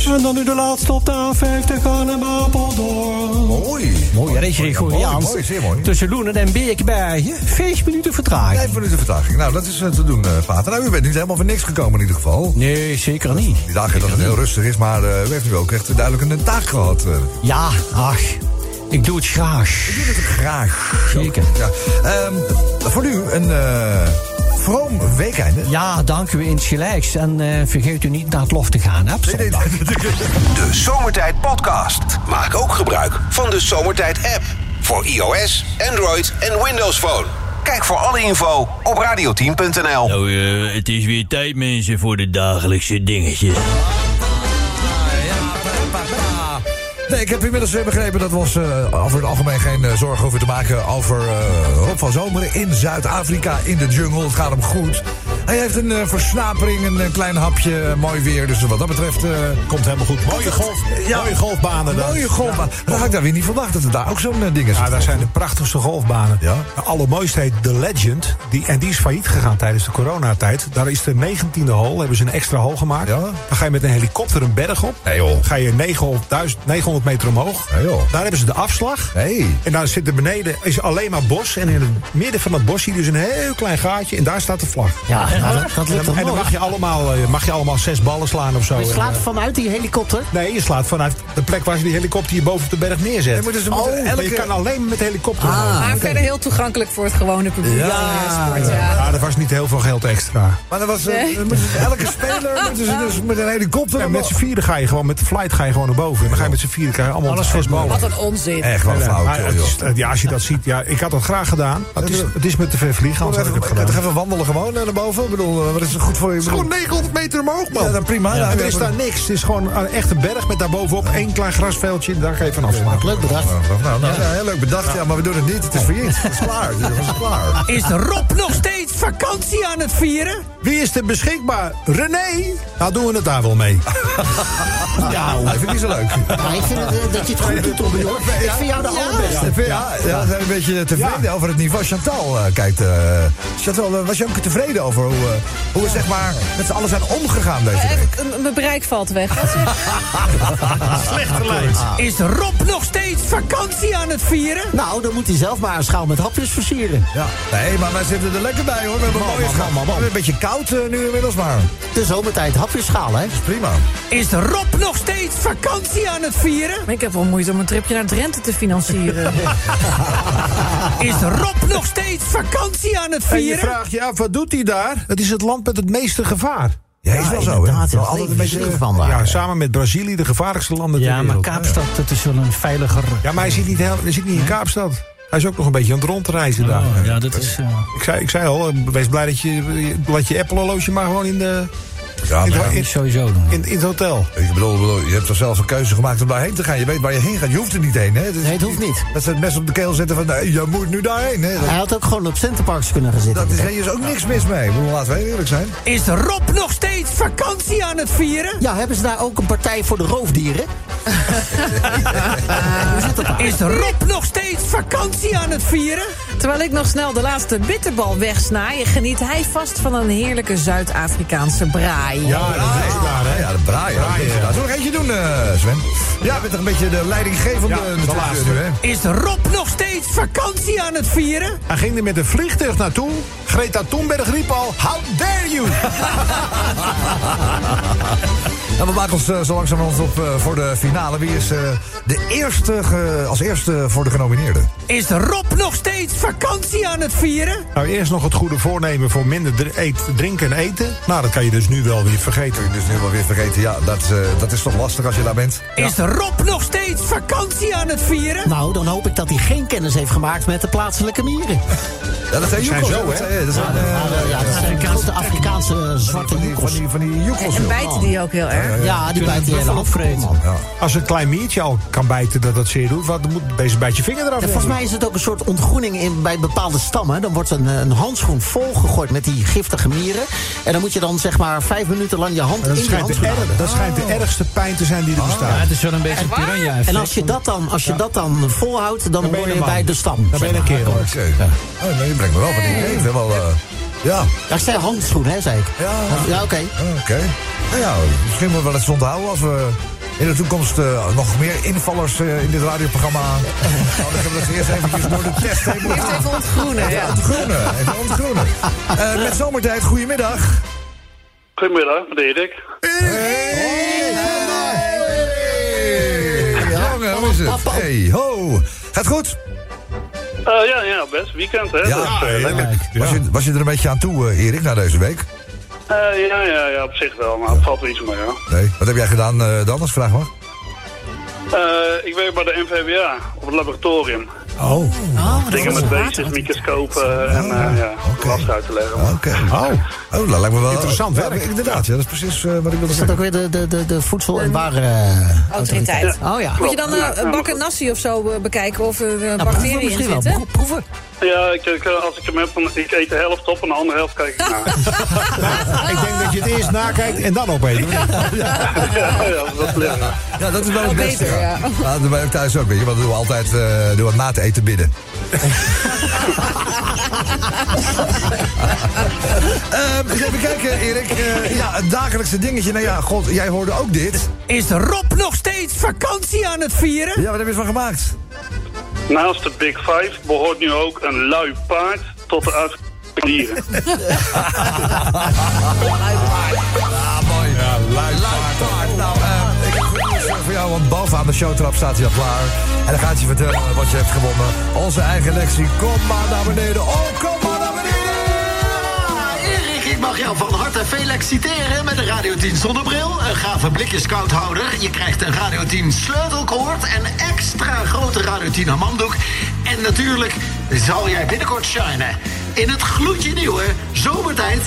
Speaker 4: En dan nu de laatste op de A50, Arnhem, Apeldoorn.
Speaker 2: Mooi.
Speaker 4: Mooi, ja, dat is
Speaker 2: Mooi,
Speaker 4: Gregoriaans.
Speaker 2: mooi, zeer mooi.
Speaker 4: Tussen Loenen en Beekbergen, 5 minuten vertraging.
Speaker 2: Vijf minuten vertraging. Nou, dat is eh, te doen, eh Pater. Nou, u bent niet helemaal voor niks gekomen in ieder geval.
Speaker 4: Nee, zeker niet.
Speaker 2: Die dagen dat het heel rustig is, maar eh, u heeft nu ook echt duidelijk een taak gehad. eh.
Speaker 4: Ja, ach, ik doe het graag.
Speaker 2: Ik doe het graag.
Speaker 4: Zeker.
Speaker 2: Ja. Ehm, voor u een eh, vroom weekeinde.
Speaker 4: Ja, dank u insgelijks. En eh, vergeet u niet naar het lof te gaan, hè, op
Speaker 2: Nee,
Speaker 4: zondag.
Speaker 2: nee,
Speaker 1: De Zomertijd Podcast. Maak ook gebruik van de Zomertijd app. Voor iOS, Android en Windows Phone. Kijk voor alle info op radio10.nl.
Speaker 10: Nou, eh, het is weer tijd, mensen, voor de dagelijkse dingetjes.
Speaker 2: Nee, ik heb inmiddels weer begrepen dat we ons eh, over het algemeen geen eh, zorgen hoeven te maken over eh, Rob van Zomeren in Zuid-Afrika, in de jungle. Het gaat hem goed. Hij heeft een eh, versnapering, een eh, klein hapje, mooi weer. Dus wat dat betreft... eh,
Speaker 3: Komt helemaal goed. Mooie, golf,
Speaker 2: Ja.
Speaker 3: mooie golfbanen daar.
Speaker 2: mooie golfbaan. Dat had ik daar weer niet verwacht, dat er daar ook zo'n eh, ding is.
Speaker 3: Ja, daar zijn de prachtigste golfbanen.
Speaker 2: Ja.
Speaker 3: De allermooiste heet The Legend. Die, en die is failliet gegaan tijdens de coronatijd. Daar is de 19e hole, hebben ze een extra hole gemaakt.
Speaker 2: Ja.
Speaker 3: Dan ga je met een helikopter een berg op.
Speaker 2: Nee, joh.
Speaker 3: Ga je 900 duizend- 900 meter omhoog.
Speaker 2: Nee, joh.
Speaker 3: Daar hebben ze de afslag.
Speaker 2: Hey.
Speaker 3: En daar zit er beneden is alleen maar bos. En in het midden van dat bos zie je dus een heel klein gaatje. En daar staat de vlag.
Speaker 4: Ah,
Speaker 13: Ja, nou, dat, dat
Speaker 3: En dan,
Speaker 13: lukt toch
Speaker 3: en dan
Speaker 13: mooi.
Speaker 3: mag, je allemaal, eh, mag je allemaal zes ballen slaan of zo.
Speaker 13: Je slaat
Speaker 3: En,
Speaker 13: vanuit die helikopter.
Speaker 3: eh, nee, je slaat vanuit de plek waar ze die helikopter hier boven op de berg neerzet. Oh,
Speaker 2: Nee, maar dus ze moeten
Speaker 3: maar
Speaker 2: elke-
Speaker 3: je kan alleen met de helikopter omhoog.
Speaker 5: maar verder heel toegankelijk voor het gewone publiek.
Speaker 2: Ja.
Speaker 5: Sport, ja.
Speaker 3: Ja, Ah, er was niet heel veel geld extra.
Speaker 2: Maar dat was, eh,
Speaker 5: Nee.
Speaker 2: met elke speler moeten ze dus met een helikopter...
Speaker 3: En met z'n vieren ga je gewoon, met de flight ga je gewoon naar boven. En dan ga je met z'n vieren krijg je allemaal
Speaker 13: Alles
Speaker 3: zes
Speaker 13: voor het
Speaker 5: Wat een onzin.
Speaker 2: Echt wel
Speaker 3: Ja, maar
Speaker 2: flauw,
Speaker 3: het
Speaker 2: joh.
Speaker 3: is- Ja, als je dat ziet, ja, ik had dat graag gedaan. Maar het, is, het is met te ver vliegen,
Speaker 2: Kom
Speaker 3: anders had ik
Speaker 2: even,
Speaker 3: het
Speaker 2: ik ga
Speaker 3: gedaan.
Speaker 2: even wandelen gewoon eh, naar boven. Ik bedoel, eh, wat is het goed voor je? Ik bedoel,
Speaker 3: 900 meter omhoog,
Speaker 2: Ja, dan prima.
Speaker 3: Ja,
Speaker 2: Nou,
Speaker 3: er is
Speaker 2: even-
Speaker 3: daar niks. Het is gewoon een echte berg met daarbovenop één klein grasveldje. En daar ga je van afslaan.
Speaker 13: Leuk bedacht.
Speaker 2: Nou, nou, nou, ja, heel leuk bedacht, ja, maar we doen het niet. Het is failliet. Het is klaar. Het is klaar.
Speaker 11: Is Rob nog steeds vakantie aan het vieren?
Speaker 3: Wie is er beschikbaar? René? Nou, doen we het daar wel mee.
Speaker 2: (laughs) Ja, dat vind ik niet zo leuk.
Speaker 13: Ja, ik vind het, eh, dat je het goed doet, Robby, hoor. Ik vind jou de allerbeste.
Speaker 2: Ja, ja, ja, we zijn een beetje eh, tevreden over het niveau. Chantal eh, kijkt. eh, Chantal, eh, was je ook tevreden over hoe, eh, hoe we zeg maar met z'n allen zijn omgegaan deze week?
Speaker 5: Echt, m- Mijn bereik valt weg. Wat zeg je?
Speaker 3: Slecht geleid.
Speaker 11: Is Rob nog steeds vakantie aan het vieren?
Speaker 13: Nou, dan moet hij zelf maar een schaal met hapjes versieren.
Speaker 2: Ja. Nee, maar wij zitten er lekker bij hoor. We hebben een
Speaker 3: Man,
Speaker 2: mooie
Speaker 3: man,
Speaker 2: schaal.
Speaker 3: man, man, man.
Speaker 2: We hebben Een beetje koud eh, nu inmiddels, maar
Speaker 13: De zomertijd, hapjesschaal, hè?
Speaker 2: prima.
Speaker 11: Is Rob nog steeds vakantie aan het vieren?
Speaker 5: Ik heb wel moeite om een tripje naar Drenthe te financieren.
Speaker 11: Is Rob nog steeds vakantie aan het
Speaker 3: En je
Speaker 11: vieren?
Speaker 3: vraagt je af, wat doet hij daar? Het is het land met het meeste gevaar.
Speaker 2: Ja, is wel zo, hè?
Speaker 13: inderdaad,
Speaker 2: Wel altijd
Speaker 13: het
Speaker 2: een
Speaker 13: leven
Speaker 2: beetje eh,
Speaker 13: is van daar.
Speaker 3: Ja, samen met Brazilië, de gevaarlijkste landen ter
Speaker 11: Ja, maar
Speaker 3: wereld.
Speaker 11: Kaapstad, dat is wel een veiliger...
Speaker 3: Ja, maar hij zit niet, heel, hij zit niet in Kaapstad. Hij is ook nog een beetje aan het rondreizen daar.
Speaker 11: Oh, ja, dat is... eh,
Speaker 3: Ik, zei, ik zei al, eh, wees blij dat je dat je Apple-horloge maar gewoon in, de,
Speaker 2: Ja,
Speaker 3: in,
Speaker 2: maar
Speaker 3: het- in,
Speaker 11: sowieso doen.
Speaker 3: in, in het hotel.
Speaker 2: Ik bedoel, ik bedoel, je hebt toch zelf een keuze gemaakt om daarheen te gaan. Je weet waar je heen gaat. Je hoeft er niet heen, hè? Dat is-
Speaker 13: Nee, het hoeft niet.
Speaker 2: Dat ze het mes op de keel zetten van, nee, je moet nu daarheen, hè? Dat,
Speaker 13: Hij had ook gewoon op Centerparks kunnen gaan zitten.
Speaker 2: dat is, daar is ook niks mis mee. Ik bedoel, laten we heel eerlijk zijn.
Speaker 11: Is Rob nog steeds vakantie aan het vieren?
Speaker 13: Ja, hebben ze daar ook een partij voor de
Speaker 3: (laughs)
Speaker 13: roofdieren?
Speaker 11: Is Rob nog steeds vakantie aan het vieren?
Speaker 5: Terwijl ik nog snel de laatste bitterbal wegsnaai, geniet hij vast van een heerlijke Zuid-Afrikaanse braai.
Speaker 3: Ja, dat is daar, hè?
Speaker 2: Ja, de braaien.
Speaker 3: Braaien, ja.
Speaker 2: Zullen we nog eentje doen, eh, Sven? Ja, je bent toch een beetje de leidinggevende
Speaker 3: Ja, de
Speaker 2: natuurlijk
Speaker 3: laatste.
Speaker 2: nu, hè?
Speaker 11: Is Rob nog steeds vakantie aan het vieren?
Speaker 3: Hij ging er met een vliegtuig naartoe. Greta Thunberg riep al, how dare
Speaker 2: (laughs)
Speaker 3: you!
Speaker 2: Nou, we maken ons eh, zo langzamerhand op eh, voor de finale. Wie is eh, de eerste, ge- als eerste voor de genomineerde?
Speaker 11: Is Rob nog steeds vakantie aan het vieren?
Speaker 3: nou, eerst nog het goede voornemen voor minder dr- eet, drinken en eten. Nou, dat kan je dus nu wel weer vergeten.
Speaker 2: Dus nu wel weer vergeten, ja, dat, eh, dat is toch lastig als je daar bent.
Speaker 11: Is Rob nog steeds vakantie aan het vieren?
Speaker 13: Nou, dan hoop ik dat hij geen kennis heeft gemaakt met de plaatselijke mieren.
Speaker 2: Ja, dat zijn
Speaker 3: zijn
Speaker 2: joekels,
Speaker 3: zo,
Speaker 2: Dat
Speaker 3: hè?
Speaker 2: zijn, dat zijn, eh,
Speaker 13: Ja, ja, dat zijn grote Afrikaanse eh, zwarte
Speaker 2: van die, van
Speaker 13: joekels.
Speaker 2: die, van die joekels,
Speaker 5: En
Speaker 2: joh.
Speaker 5: bijten die ook heel
Speaker 3: eh,
Speaker 5: erg.
Speaker 13: Ja, die bijten die hele hand vol, man.
Speaker 3: Als een klein miertje al kan bijten dat dat zeer doet... wat moet deze bijt je vinger eraf?
Speaker 13: En volgens mij is het ook een soort ontgroening in, bij bepaalde stammen. Dan wordt een, eh, een handschoen volgegooid met die giftige mieren. En dan moet je dan zeg maar vijf minuten lang je hand in
Speaker 3: dat
Speaker 13: die
Speaker 3: schijnt, de,
Speaker 13: handschoen
Speaker 3: erg-
Speaker 13: houden.
Speaker 3: dat schijnt
Speaker 2: Oh.
Speaker 3: de ergste pijn te zijn die er bestaat.
Speaker 11: het is wel een beetje piranha
Speaker 13: En als je dat dan, als je dat dan volhoudt, dan,
Speaker 3: ben je
Speaker 13: hoor je
Speaker 3: een man.
Speaker 13: bij de stam.
Speaker 3: Dan ben je een
Speaker 13: zeg maar.
Speaker 3: kerel.
Speaker 2: Oké. Oh, nee, je brengt me wel van die idee. Ik vind wel, eh, ja,
Speaker 13: Ja, ik zei handschoen, hè, zei ik.
Speaker 2: Ja.
Speaker 13: ja oké.
Speaker 2: oké. Nou ja, misschien moeten we wel eens onthouden als we in de toekomst eh, nog meer invallers eh, in dit radioprogramma...
Speaker 5: (laughs)
Speaker 2: Nou, dan hebben we ze eerst eventjes door de test heen moeten
Speaker 5: Eerst even ontgroenen. Ja.
Speaker 2: Groene, even ontgroenen. Eh, met zomertijd, goedemiddag.
Speaker 14: Goedemiddag, met Erik.
Speaker 2: Hey, Jongen, hoe is het? Hey, ho. Gaat goed?
Speaker 14: Eh, ja, ja, best weekend, hè? Dus, eh, lekker.
Speaker 2: Was je, was je er een beetje aan toe, eh, Erik, na deze week?
Speaker 14: Eh, ja, ja, ja, op zich wel, maar het valt wel iets mee, ja.
Speaker 2: Nee. Wat heb jij gedaan eh, dan, als vraag mag?
Speaker 14: Eh, ik werk bij de NVWA, op het laboratorium.
Speaker 12: Oh. oh
Speaker 14: Dingen met beestjes,
Speaker 12: Ah,
Speaker 14: microscopen en uh, ja, last uit te leggen.
Speaker 2: Oké. Oh. oh, dat lijkt me wel
Speaker 12: Interessant
Speaker 2: ja,
Speaker 12: werk.
Speaker 2: Inderdaad, ja, dat is precies eh, wat ik wilde
Speaker 7: Is dat
Speaker 2: zeggen.
Speaker 7: ook weer de, de, de, de voedsel- en warenautoriteit?
Speaker 5: Autoriteit.
Speaker 7: oh ja.
Speaker 5: Moet je dan
Speaker 14: Ja,
Speaker 5: eh,
Speaker 14: ja,
Speaker 5: een
Speaker 14: maar
Speaker 5: bakken
Speaker 14: goed.
Speaker 5: nasi of zo eh, bekijken of er eh,
Speaker 7: Nou, proeven
Speaker 5: bacteriën in
Speaker 7: misschien wel.
Speaker 5: zitten?
Speaker 7: Pro- Proeven.
Speaker 14: Ja, ik, ik, eh, als ik hem heb, dan- ik eet de helft op en de andere helft kijk ik
Speaker 12: (laughs)
Speaker 14: naar.
Speaker 12: Ik denk dat je het eerst nakijkt en dan opeten.
Speaker 14: ja, ja, dat leren. we.
Speaker 2: Ja, dat is wel het
Speaker 5: Wel
Speaker 2: beste.
Speaker 5: beter,
Speaker 2: ja.
Speaker 5: ja.
Speaker 2: Ja, dat doen wij ook thuis ook, weet je. Want we doen altijd eh, doen we na het eten bidden. Ehm, eens even kijken, Erik. Eh, ja, het dagelijkse dingetje. Nou ja, god, jij hoorde ook dit.
Speaker 7: Is Rob nog steeds vakantie aan het vieren?
Speaker 2: Ja, wat heb je ervan gemaakt?
Speaker 14: Naast de Big Five behoort nu ook een lui paard tot de uit
Speaker 12: (laughs)
Speaker 14: dieren.
Speaker 2: Ah, mooi. Ja, luipaard. Nou, eh, ik heb goed nieuws voor jou, want bovenaan de showtrap staat hij al klaar. En dan gaat hij vertellen wat je hebt gewonnen. Onze eigen Lexi, kom maar naar beneden. Oh, kom maar naar beneden!
Speaker 13: Erik, ik mag jou van harte feliciteren met een Radio 10 zonnebril, een gave blikjes koudhouder. Je krijgt een Radio 10 sleutelkoord, een extra grote Radio 10 hamamdoek. En natuurlijk zal jij binnenkort shinen in het gloedje nieuwe zomertijd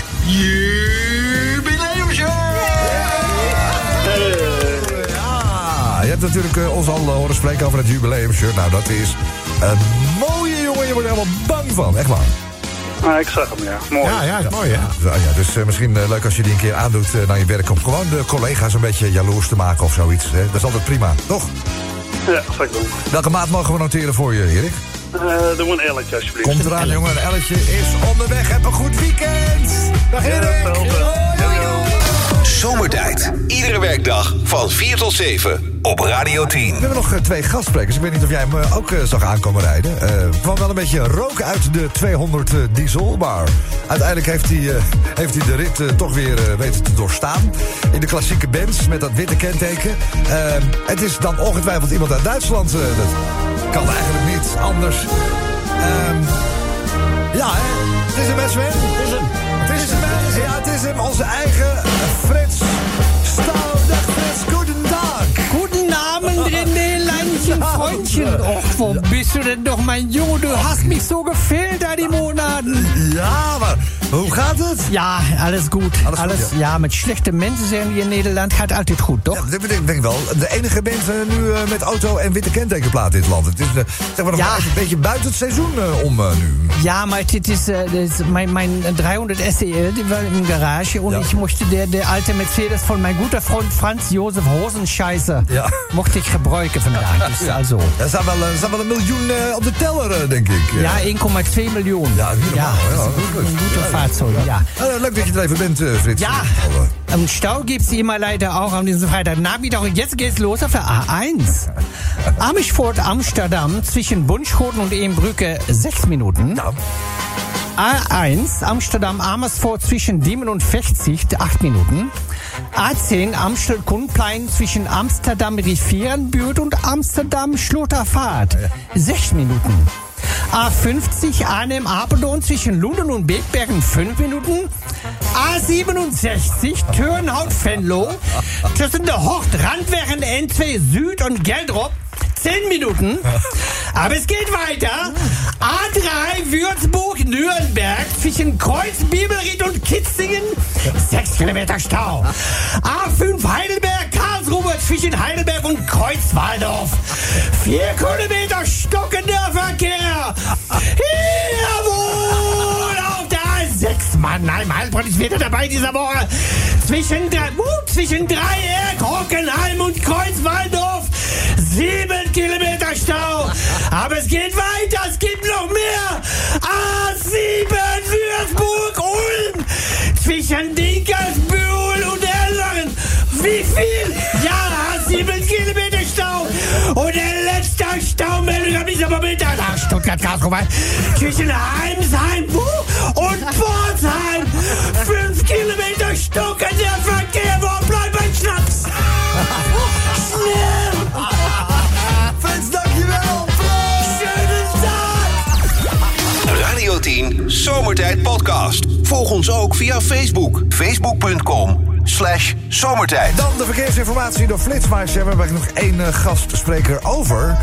Speaker 13: jubileumshow.
Speaker 2: Ja, je hebt natuurlijk eh, ons al eh, horen spreken over het jubileumshirt. Nou, dat is een mooie jongen. Je wordt er helemaal bang van. Echt waar.
Speaker 14: Ah, ik zag hem, ja. Mooi.
Speaker 12: Ja, ja, is mooi hè.
Speaker 2: Zo, ja, dus eh, misschien eh, leuk als je die een keer aandoet eh, naar je werk... om gewoon de collega's een beetje jaloers te maken of zoiets. Hè? Dat is altijd prima, toch?
Speaker 14: Ja, dat zal ik doen.
Speaker 2: Welke maat mogen we noteren voor je, Erik?
Speaker 14: Eh, doe een elletje alsjeblieft.
Speaker 2: Komt eraan, jongen. Een elletje is onderweg. Heb een goed weekend. Dag,
Speaker 14: Ja,
Speaker 2: Erik.
Speaker 14: hetzelfde.
Speaker 2: Hoi, hoi.
Speaker 1: Zomertijd. Iedere werkdag van 4 tot 7 op Radio 10.
Speaker 2: We hebben nog eh, twee gastsprekers. Ik weet niet of jij hem eh, ook eh, zag aankomen rijden. Eh, Er kwam wel een beetje rook uit de 200 eh, diesel. Maar uiteindelijk heeft hij, eh, heeft hij de rit eh, toch weer eh, weten te doorstaan. In de klassieke Benz met dat witte kenteken. Eh, het is dan ongetwijfeld iemand uit Duitsland. eh, dat kan eigenlijk niet anders. Ehm, ja, hè? Het is hem, hè, Sven? Het is hem. Het is hem, hè? Ja, het is hem. Onze eigen eh, Frits Staal. Dag, Frits. Goedendag.
Speaker 7: Guten Abend in den Landchen, Freundchen. Och, wo bist du denn doch, mein Junge? Du hast mich so gefehlt all die Monaten.
Speaker 2: Ja, maar hoe gaat het?
Speaker 7: Ja, alles gut.
Speaker 2: Alles
Speaker 7: Alles,
Speaker 2: gut,
Speaker 7: ja. mit schlechten Menschen sind hier in Nederland gaat altijd goed, toch?
Speaker 2: Ja, dat denk ik wel. De enige mensen nu eh, met auto en witte kentekenplaat in dit land. Het is eh, zeg maar nog
Speaker 7: Ja.
Speaker 2: wel even een beetje buiten het seizoen eh, om eh, nu.
Speaker 7: Ja, maar dit is, äh, das ist mein, mein 300 SEL, die war im Garage und
Speaker 2: Ja.
Speaker 7: ich mochte der, der alte Mercedes von meinem guter Freund Franz Josef Hosenscheiße,
Speaker 2: Ja.
Speaker 7: mochte ich gebruiken vandaag. Dus also,
Speaker 2: Er staan wel, eh, er staan wel een miljoen eh, op de teller, eh, denk ik.
Speaker 7: ja, 1,2 Millionen.
Speaker 2: Ja, niet normaal, ja,
Speaker 7: das ist
Speaker 2: dat is
Speaker 7: ein
Speaker 2: leuk.
Speaker 7: guter Fahrzeug, ja.
Speaker 2: Nou, leuk dat je er even bent, eh, Frits.
Speaker 7: Ja,
Speaker 2: Oh, eh,
Speaker 7: im Stau gibt's immer leider auch an diesem Freitagnachmittag. Und jetzt geht's los auf der A1. Amersfoort, Amsterdam, zwischen Bunschhoden und Eembrücke sechs Minuten.
Speaker 2: Nou,
Speaker 7: A1, Amsterdam, Amersfoort zwischen 47, acht Minuten. A10, Amstel, Kunplein zwischen Amsterdam, Rivierenbürt und Amsterdam, Schlotterfahrt. sechs Minuten. A50, Arnhem, Apeldoorn zwischen Lunden und Beekbergen, fünf Minuten. A67, Turnhout, Venlo zwischen der Hort, Randwehren, N2 Süd und Geldrop, zehn Minuten. Aber es geht weiter. A3 Würzburg, Nürnberg, zwischen Kreuz, Bibelried und Kitzingen. Sechs Kilometer Stau. A5 Heidelberg, Karlsruhe, zwischen Heidelberg und Kreuzwaldorf. Vier Kilometer stockender Verkehr. Hier wohl auf der A6. Mann, nein, Heilbronn ist wieder dabei dieser Woche. Zwischen, drei, uh, zwischen Dreieck, Hockenheim und Kreuzwaldorf. Sieben Kilometer Stau. Aber es geht weiter, es gibt noch mehr. A7 Würzburg-Ulm. Zwischen Dinkersbühl und Erlangen. Wie viel? Ja, A7 Kilometer Stau. Und der letzte Staumeldung habe ich aber mit nach Stuttgart, Karlsruhe. Zwischen Heimsheim Buh, und Pforzheim. Fünf Kilometer stockender Verkehr. Wo bleibt mein Schnaps? Schnell!
Speaker 2: Frits, dankjewel.
Speaker 7: Schönen Tag!
Speaker 1: Radio 10 Zomertijd Podcast. Volg ons ook via Facebook. Facebook.com slash zomertijd.
Speaker 2: Dan de verkeersinformatie door Flitsmeister. We hebben nog één eh, gastspreker over.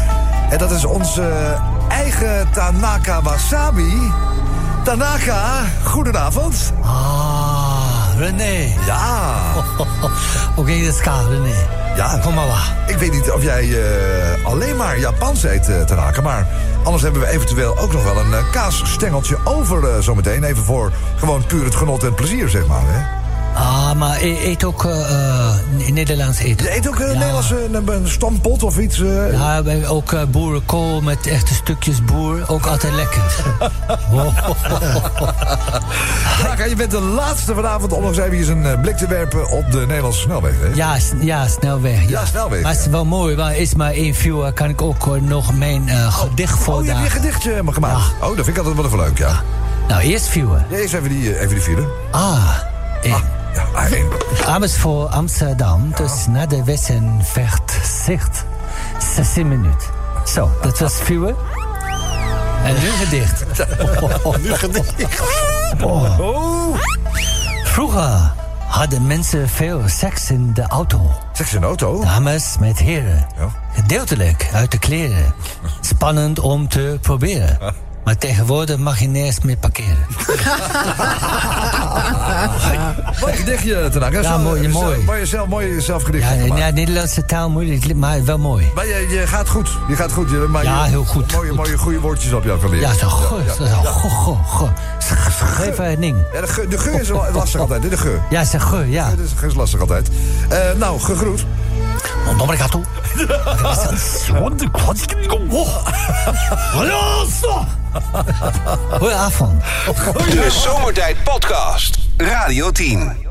Speaker 2: En dat is onze eigen Tanaka Wasabi. Tanaka, goedenavond.
Speaker 4: Ah, René. Oh,
Speaker 2: Ja.
Speaker 4: Oké, dat is René. Ah,
Speaker 2: Ja.
Speaker 4: Kom maar waar.
Speaker 2: Ik weet niet of jij eh, alleen maar Japans eet, eh, Tanaka. Maar anders hebben we eventueel ook nog wel een eh, kaasstengeltje over eh, zometeen. Even voor gewoon puur het genot en plezier, zeg maar. Hè?
Speaker 4: Ah, maar e- eet ook eh, eh, Nederlands eten.
Speaker 2: Je eet ook een Nederlandse een, een stampot of iets? eh?
Speaker 4: Ja, we hebben ook eh, boerenkool met echte stukjes boer. Ook altijd lekker.
Speaker 2: Tanaka, je bent de laatste vanavond om nog eens even eens een eh, blik te werpen op de Nederlandse snelweg. Hè?
Speaker 4: Ja, s- ja snelweg. Ja,
Speaker 2: Ja, snelweg,
Speaker 4: Maar het is wel mooi, maar is maar één viewer. Kan ik ook eh, nog mijn eh, gedicht
Speaker 2: Oh, je hebt je
Speaker 4: voordragen?
Speaker 2: gedichtje helemaal gemaakt. Oh, dat vind ik altijd wel even leuk, ja.
Speaker 4: nou, eerst viewer.
Speaker 2: Ja, Eerst even die, eh, even die file.
Speaker 4: Ah, één.
Speaker 2: Ja, ah, één.
Speaker 4: Abends voor Amsterdam, dus na de wessen verzicht. 16 minuten. Zo, dat was viewer. En nu
Speaker 2: (laughs)
Speaker 4: gedicht. Oh,
Speaker 12: Nu gedicht.
Speaker 2: Oh.
Speaker 4: Vroeger hadden mensen veel seks in de auto.
Speaker 2: Zeg zijn auto.
Speaker 4: Dames met heren.
Speaker 2: Ja.
Speaker 4: Gedeeltelijk uit de kleren. Spannend om te proberen. Maar tegenwoordig mag je nergens meer parkeren.
Speaker 2: Mooi gedichtje, Tanaka.
Speaker 4: Ja,
Speaker 2: Zo,
Speaker 4: mooi,
Speaker 2: eh, zo-
Speaker 4: mooi.
Speaker 2: Mooi, zelf, mooi zelfgedichtje
Speaker 4: Ja,
Speaker 2: gemaakt.
Speaker 4: ja, Nederlandse taal moeilijk, maar wel mooi.
Speaker 2: Maar je, je gaat goed. Je gaat goed. Je, maar
Speaker 4: Ja,
Speaker 2: je-
Speaker 4: heel goed.
Speaker 2: Mooie,
Speaker 4: Goed.
Speaker 2: mooie goede woordjes op jou kan leren.
Speaker 4: Ja, zo goh, zo zo goh, goh, goh. Geef een ding.
Speaker 2: Ja, de, geur, de geur is wel lastig altijd. hè, De geur.
Speaker 4: Ja, ze goh, ja.
Speaker 2: Ja, de geur is lastig altijd. Eh, nou, gegroet.
Speaker 4: Ondomme gaat toe. Goedenavond.
Speaker 1: De Zomertijd Podcast. Radio 10.